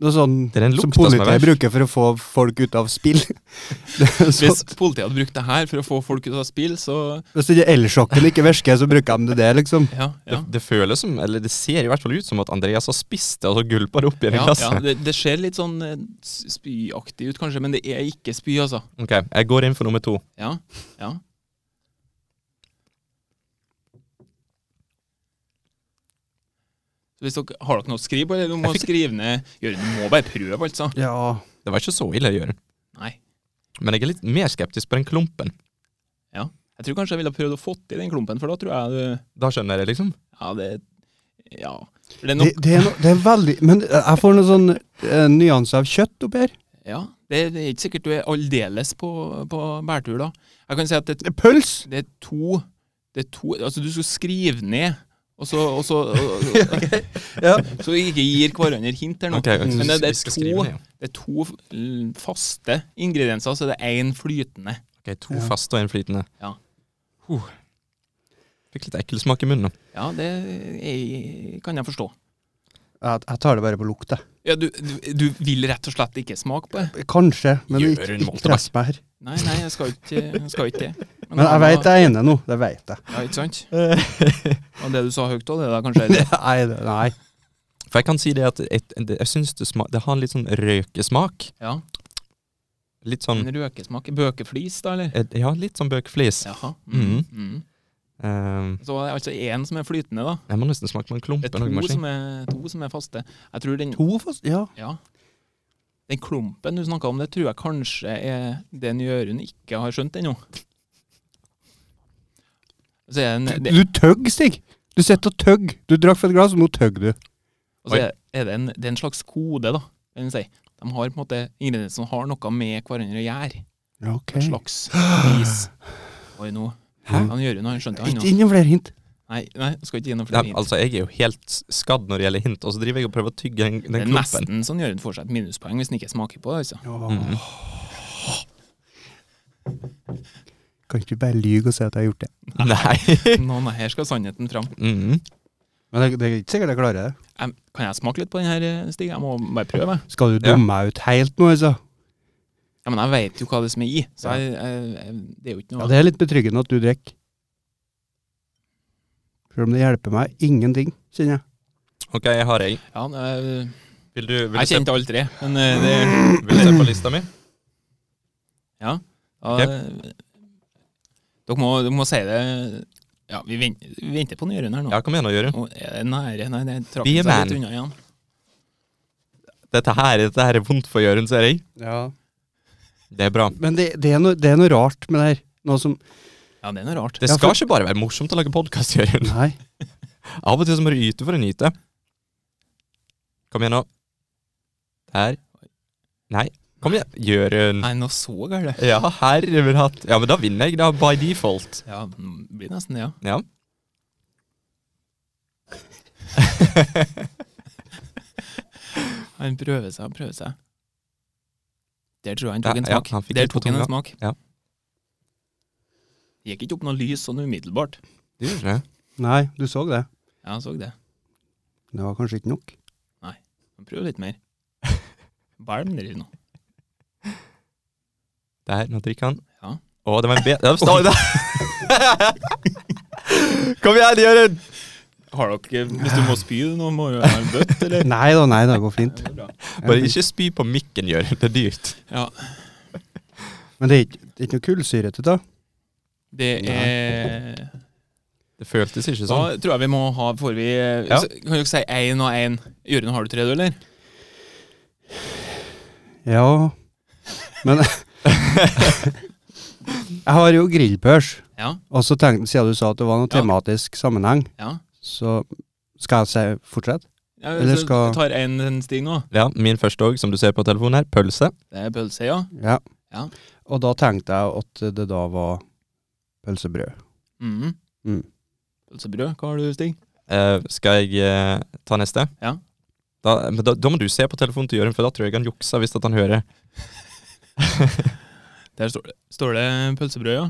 S1: noe sånn
S2: Det er altså,
S1: som
S2: den lukta som er
S1: politiet
S2: verst.
S1: bruker for å få folk ut av spill. Det er så,
S3: Hvis politiet hadde brukt det her for å få folk ut av spill, så
S1: hvis ikke elsjokken ikke virker, så bruker de det der, liksom.
S3: Ja, ja.
S2: Det, det føles som, eller det ser i hvert fall ut som at Andreas har spist det, og så gulpa det opp igjen i
S3: ja, ja
S2: glasset.
S3: det, det ser litt sånn eh, s- spyaktig ut, kanskje, men det er ikke spy, altså.
S2: Ok, jeg går inn for nummer to.
S3: Ja, ja. Hvis dere, har dere noe å skrive på, eller du må
S2: Jeg fikk-
S3: skrive ned Jørgen, du må bare prøve, altså.
S1: Ja.
S2: Det var ikke så ille å gjøre,
S3: Nei.
S2: men jeg er litt mer skeptisk på den klumpen.
S3: Jeg tror kanskje jeg ville ha prøvd å fått i den klumpen, for da tror jeg du
S2: Da skjønner jeg det, liksom.
S3: Ja, det Ja. For det er
S1: Det,
S3: nok
S1: det, er no, det er veldig Men jeg får noen sånn eh, nyanse av kjøtt oppi her.
S3: Ja, det, det er ikke sikkert du er aldeles på, på bærtur, da. Jeg kan si at det,
S1: Pøls!
S3: det er to Det er to Altså, du skal skrive ned, og så, og så, og,
S1: Ja.
S3: så vi ikke gir hverandre hint her nå.
S2: Ok, ok, så
S3: Men det- det er
S2: vi skal
S3: to-
S2: skrive ned, ja.
S3: Det er to mm, faste ingredienser, så det er én flytende.
S2: Ok, to
S1: Ja.
S2: faste og en flytende.
S3: Ja.
S2: Huh. Fikk litt ekkel smak i munnen.
S3: Ja, det er, kan jeg forstå.
S1: Jeg, jeg tar det bare på lukt, jeg.
S3: Ja, du, du, du vil rett og slett ikke smake på det?
S1: Kanskje, men
S2: Gjør
S1: ikke,
S2: en
S1: ikke
S2: Molteberg.
S1: press meg her.
S3: Nei, nei, jeg skal ikke, jeg skal ikke det.
S1: Men jeg
S3: det
S1: veit jeg er ene nå. Det veit jeg.
S3: Ja, ikke sant? Og det du sa høyt òg, det da kanskje er
S1: Nei, det, nei.
S2: For jeg kan si det at jeg, det- jeg syns det, sma- det har en litt sånn røkesmak.
S3: Ja,
S2: Litt
S3: en
S2: sånn
S3: røkesmak. Bøkeflis, da, eller?
S2: eh, Ja, litt sånn bøkflis.
S3: Jaha.
S2: Mhm.
S3: Mm.
S2: Eh,
S3: Så var det altså én som er flytende, da.
S2: jeg må nesten smake på en klump.
S3: Det er
S2: eller noe,
S3: to
S2: Martin.
S3: som er, to som er faste. Jeg tror den,
S1: To fast Ja.
S3: ja, den klumpen du snakka om, det tror jeg kanskje er den Jørund ikke har skjønt ennå. Så er,
S1: Du,
S3: den, det,
S1: du tøgg, Stig. Du sitter og tøgg. Du drakk fra et glass, og nå tøgg du.
S3: og så er, er det, en, det er en slags kode, da. Kan jeg si. De har på en måte ingrediensene har noe med hverandre å gjøre.
S1: Ja, ok.
S3: Et slags vis. Oi, nå.
S1: Hæ?
S3: Han Jørund har skjønt det, han
S1: Ikke
S3: nå.
S1: ingen flere hint.
S3: Nei, nei, jeg skal ikke gi noe
S2: Ja,
S3: flere hint.
S2: altså, jeg er jo helt skadd når det gjelder hint, og så driver jeg og prøver å tygge den,
S3: Det
S2: den
S3: er
S2: klumpen.
S3: nesten sånn Jørund får seg et minuspoeng hvis han ikke smaker på det. altså.
S2: Mhm.
S1: Kan ikke du bare lyge og si at jeg har gjort det?
S2: Nei.
S3: Nå, nei, her skal sannheten fram.
S2: Mhm.
S1: Men det, det er ikke sikkert jeg klarer det.
S3: Em, Kan jeg smake litt på den her, eh, Stig? Jeg må bare prøve. jeg.
S1: Skal du
S2: Ja.
S1: dumme meg ut helt nå, altså?
S3: Ja, Men jeg vet jo hva det er som er i, så jeg, jeg, jeg, det er jo ikke
S1: Ja,
S3: noe
S1: Det er litt betryggende at du drikker. Selv om det hjelper meg ingenting, kjenner jeg.
S2: Ok, jeg har ei.
S3: Ja, men, eh,
S2: Vil du, vil du,
S3: Jeg
S2: se,
S3: kjente alle tre, men eh, det
S2: vil du se på lista mi?
S3: ja, eh, Dere må, dere må si det Ja, vi vent- vi venter på den Jørund her nå.
S2: Ja, kom igjen og gjør det.
S3: Nå er det nære Nei, det trakk
S2: Be a
S3: seg litt
S2: man.
S3: unna igjen.
S2: Dette her, dette her er vondt for Jørund, ser jeg. Det er bra.
S1: Men det, det, er noe, det er noe rart med det her. Noe som
S3: Ja, det er noe rart.
S2: Det
S1: Ja,
S2: skal
S1: for-
S2: ikke bare være morsomt å lage podkast, Jørund.
S1: Nei.
S2: Av og til så må du yte for å nyte. Kom igjen nå. Der. Nei. Kom igjen, Jørund.
S3: Nei, noe så galt.
S2: Ja, herre min hatt. Ja, men da vinner jeg, da, by default.
S3: Ja, det blir nesten det, ja.
S2: Ja.
S3: Han prøver seg, han prøver seg. Der tror jeg han tok
S2: Ja,
S3: en
S2: ja,
S3: smak.
S2: han fikk
S3: Der
S2: litt på
S3: tok han en
S2: tunga.
S3: smak.
S2: Ja.
S3: Gikk ikke opp noe lys sånn umiddelbart.
S2: Du gjør det.
S1: Nei, du så det.
S3: Ja, han så det.
S1: Det var kanskje ikke nok.
S3: Han prøver litt mer. Hva er det med dere nå?
S2: Der, nå trykker han.
S3: Ja.
S2: Å, det var en bedre Stå der! Kom igjen, Jørund!
S3: Har dere, hvis du må spy nå, må du ha en bøtt, eller?
S1: Nei da, nei da, det går fint.
S2: Bare ikke spy på mikken, Jørund. Det er dyrt.
S3: Ja,
S1: Men det er ikke, det er ikke noe kullsyre til det.
S3: det er...
S2: Det føltes ikke
S3: Da
S2: sånn.
S3: tror jeg vi må ha, får vi... eh,
S2: Ja.
S3: så Kan dere si en og en? Jørgen, har du tre, du, eller?
S1: Ja Men Jeg har jo grillpørs,
S3: Ja,
S1: og så tenkte siden du sa at det var noe
S3: Ja.
S1: tematisk sammenheng,
S3: ja.
S1: så skal jeg si fortsett?
S3: ja
S1: Eller
S3: så
S1: skal-
S3: Tar en en stig nå.
S2: Ja, min første òg, som du ser på telefonen her. Pølse.
S3: Det er pølse, ja.
S1: Ja.
S3: Ja.
S1: Og da tenkte jeg at det da var pølsebrød.
S3: Mhm.
S1: Mm.
S3: Pølsebrød, hva har du, Stig?
S2: Eh, skal jeg eh, ta neste?
S3: Ja.
S2: Da, men da, da må du se på telefonen til Jørund, for da tror jeg han jukser hvis at han hører.
S3: Der står det, står det pølsebrød, ja.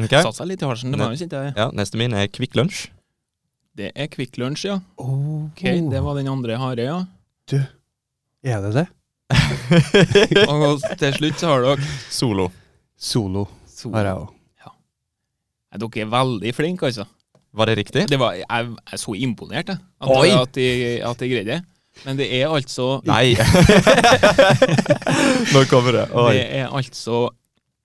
S2: Ok?
S3: Satt seg litt i halsen, det var jo kjente jeg.
S2: Ja, neste min er Kvikk Lunsj.
S3: Det er Kvikk Lunsj, ja.
S1: Ok,
S3: Ok,
S1: Oh.
S3: Det var den andre harde, ja.
S1: Er det det?
S3: Og til slutt så har dere
S2: Solo.
S1: Solo har jeg òg.
S3: Nei, Dere er veldig flinke, altså.
S2: Var det riktig?
S3: Det var, jeg jeg er så imponert, jeg. At,
S2: Oi!
S3: at, de, at de greide det. Men det er altså
S2: Nei! Nå kommer det.
S3: Det
S2: Oi.
S3: er altså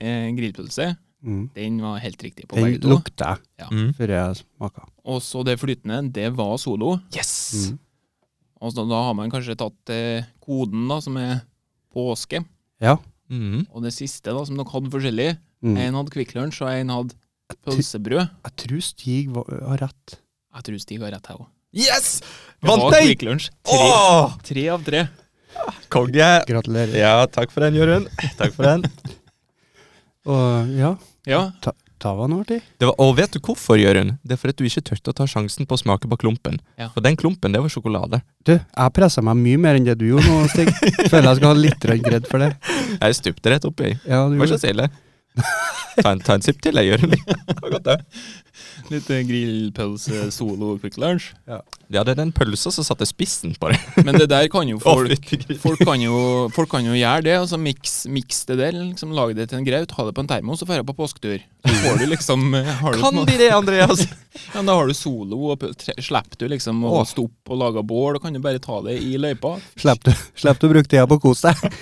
S3: eh, grillpølse.
S1: Mm.
S3: Den var helt riktig på
S1: Den
S3: begge to.
S1: lukter jeg
S2: Mm.
S1: før jeg smaker.
S3: Og så det flytende, det var solo.
S2: Yes!
S1: Mm.
S3: Og så, da har man kanskje tatt eh, koden, da, som er påske.
S1: Ja.
S2: Mm.
S3: Og det siste, da, som dere hadde forskjellig.
S1: Mm.
S3: En hadde Kvikk Lunsj, og en hadde
S1: tr-
S3: pølsebrød.
S1: Jeg tror Stig var, har rett.
S3: Jeg tror Stig har rett her òg.
S2: Yes!
S3: Det
S2: Vant
S3: var
S2: jeg!
S3: Kvikk Lunsj. Tre,
S2: Åh!
S3: tre av tre.
S2: Konge!
S1: Gratulerer.
S2: Ja, takk for den, Jørund. Takk for den.
S1: Og ja,
S3: Ja,
S1: ta var noe artig.
S2: Det var, og vet du hvorfor, Jørund? Det er fordi du ikke turte å ta sjansen på å smake på klumpen.
S3: Ja.
S2: For den klumpen, det var sjokolade.
S1: Du, jeg pressa meg mye mer enn det du gjorde nå, Stig. Føler jeg skal ha litt grann kred for det.
S2: Jeg stupte rett oppi.
S1: Ja, du
S2: Var
S1: gjorde
S2: ikke
S1: det.
S2: så ille. Ta en, ta en sipp til, jeg, Jørund. Det var godt, det.
S3: litt eh, grillpølse, solo, Kvikk Lunsj.
S2: Ja, det er den pølsa som satte spissen på det.
S3: Men det der kan jo
S2: Å,
S3: folk
S2: fytti grisen.
S3: Folk kan, jo, folk kan jo gjøre det. altså Miks miks det der. liksom Lage det til en graut, ha det på en termos og dra på påsketur. Så får du liksom eh, har du på en
S2: Kan
S3: måte-
S2: de det, Andreas?
S3: ja, Da har du solo, og p- tre- slipper du liksom å
S1: Åh.
S3: stå opp og lage bål. Da kan du bare ta det i løypa.
S1: Slipp du, slipp du å bruke tida på å kose deg.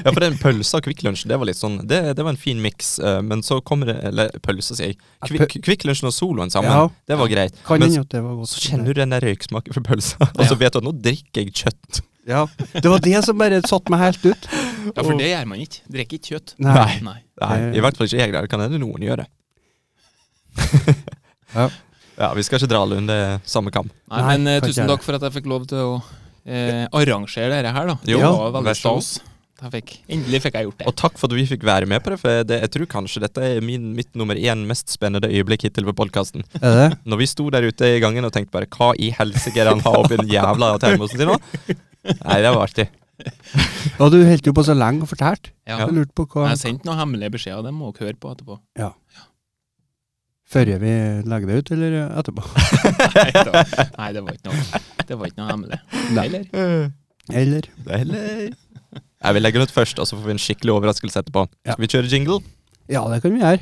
S2: Ja, for den pølsa og Kvikk Lunsj, det var litt sånn Det, det var en fin miks, eh, men så kommer det Eller pølsa, sier jeg. Kvikk, Kvikk Lunsjen og soloen sammen,
S1: Ja.
S2: det var greit.
S1: Kan
S2: Men
S1: hende at det var godt.
S2: Så kjenner du den der røyksmaken fra pølsa, og så
S3: Ja.
S2: vet du at nå drikker jeg kjøtt.
S1: Ja. Det var det som bare satte meg helt ut.
S3: Ja, For det gjør man ikke. Drikker ikke kjøtt.
S1: Nei.
S3: Nei.
S2: Nei,
S1: Eh.
S2: i hvert fall ikke jeg. Det kan hende noen gjør det.
S1: Ja.
S2: Ja, vi skal ikke dra alle under samme kam.
S3: Nei,
S1: Nei,
S3: men eh,
S1: kan ikke
S3: tusen
S1: gjøre
S3: takk for at jeg fikk lov til å eh, arrangere dette her, da.
S2: Jo,
S3: det var
S2: vær
S3: veldig
S2: så god.
S3: stas. Jeg fikk, endelig fikk jeg gjort det.
S2: Og takk for at vi fikk være med på det, for det, jeg tror kanskje dette er min, mitt nummer én mest spennende øyeblikk hittil på podkasten.
S1: Er det?
S2: Når vi sto der ute i gangen og tenkte bare hva i helsike er det han har oppi den jævla termosen sin nå? Nei, det var artig.
S1: Og du holdt jo på så lenge og fortalte.
S3: Ja.
S1: Jeg lurte på hva
S3: Jeg sendte noen hemmelige beskjeder, det må dere høre på etterpå.
S1: Før vi legger det ut, eller eh, etterpå?
S3: Nei, da. Nei, det var ikke noe, det var ikke noe hemmelig.
S1: Nei.
S3: Eller?
S1: Eller?
S2: Deilig. Jeg vil legge den ut først, og så får vi en skikkelig overraskelse etterpå.
S1: Ja.
S2: Skal vi kjøre jingle?
S1: Ja, det kan vi gjøre.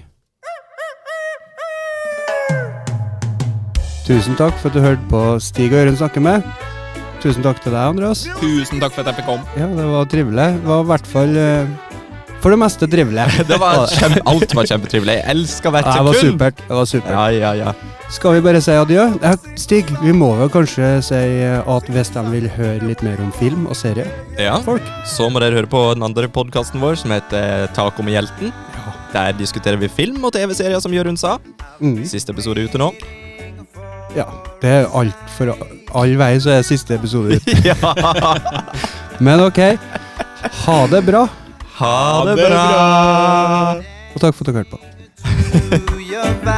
S1: Tusen takk for at du hørte på Stig og Øren snakke med. Tusen takk til deg, Andreas.
S3: Tusen takk for at jeg fikk komme.
S1: Ja, det var trivelig. Det var i hvert fall eh, for det meste trivelig.
S2: Det var kjempe, alt var kjempetrivelig. Jeg elsker hvert
S1: Ja, det var
S2: sekund.
S1: supert. Det var supert.
S2: Ja, ja, ja.
S1: Skal vi bare si adjø? Ja, Stig, vi må vel kanskje si at hvis de vil høre litt mer om film og serie
S2: ja.
S1: Folk.
S2: Så må dere høre på den andre podkasten vår som heter Tak om hjelten. Der diskuterer vi film og TV-serier, som Jørund sa.
S1: mm,
S2: Siste episode er ute nå.
S1: Ja. Det er alt for all vei, så er siste episode ut.
S2: Ja.
S1: Men OK. Ha det bra,
S2: Ha det bra!
S1: og takk for at dere hørte på.
S4: to your vibe.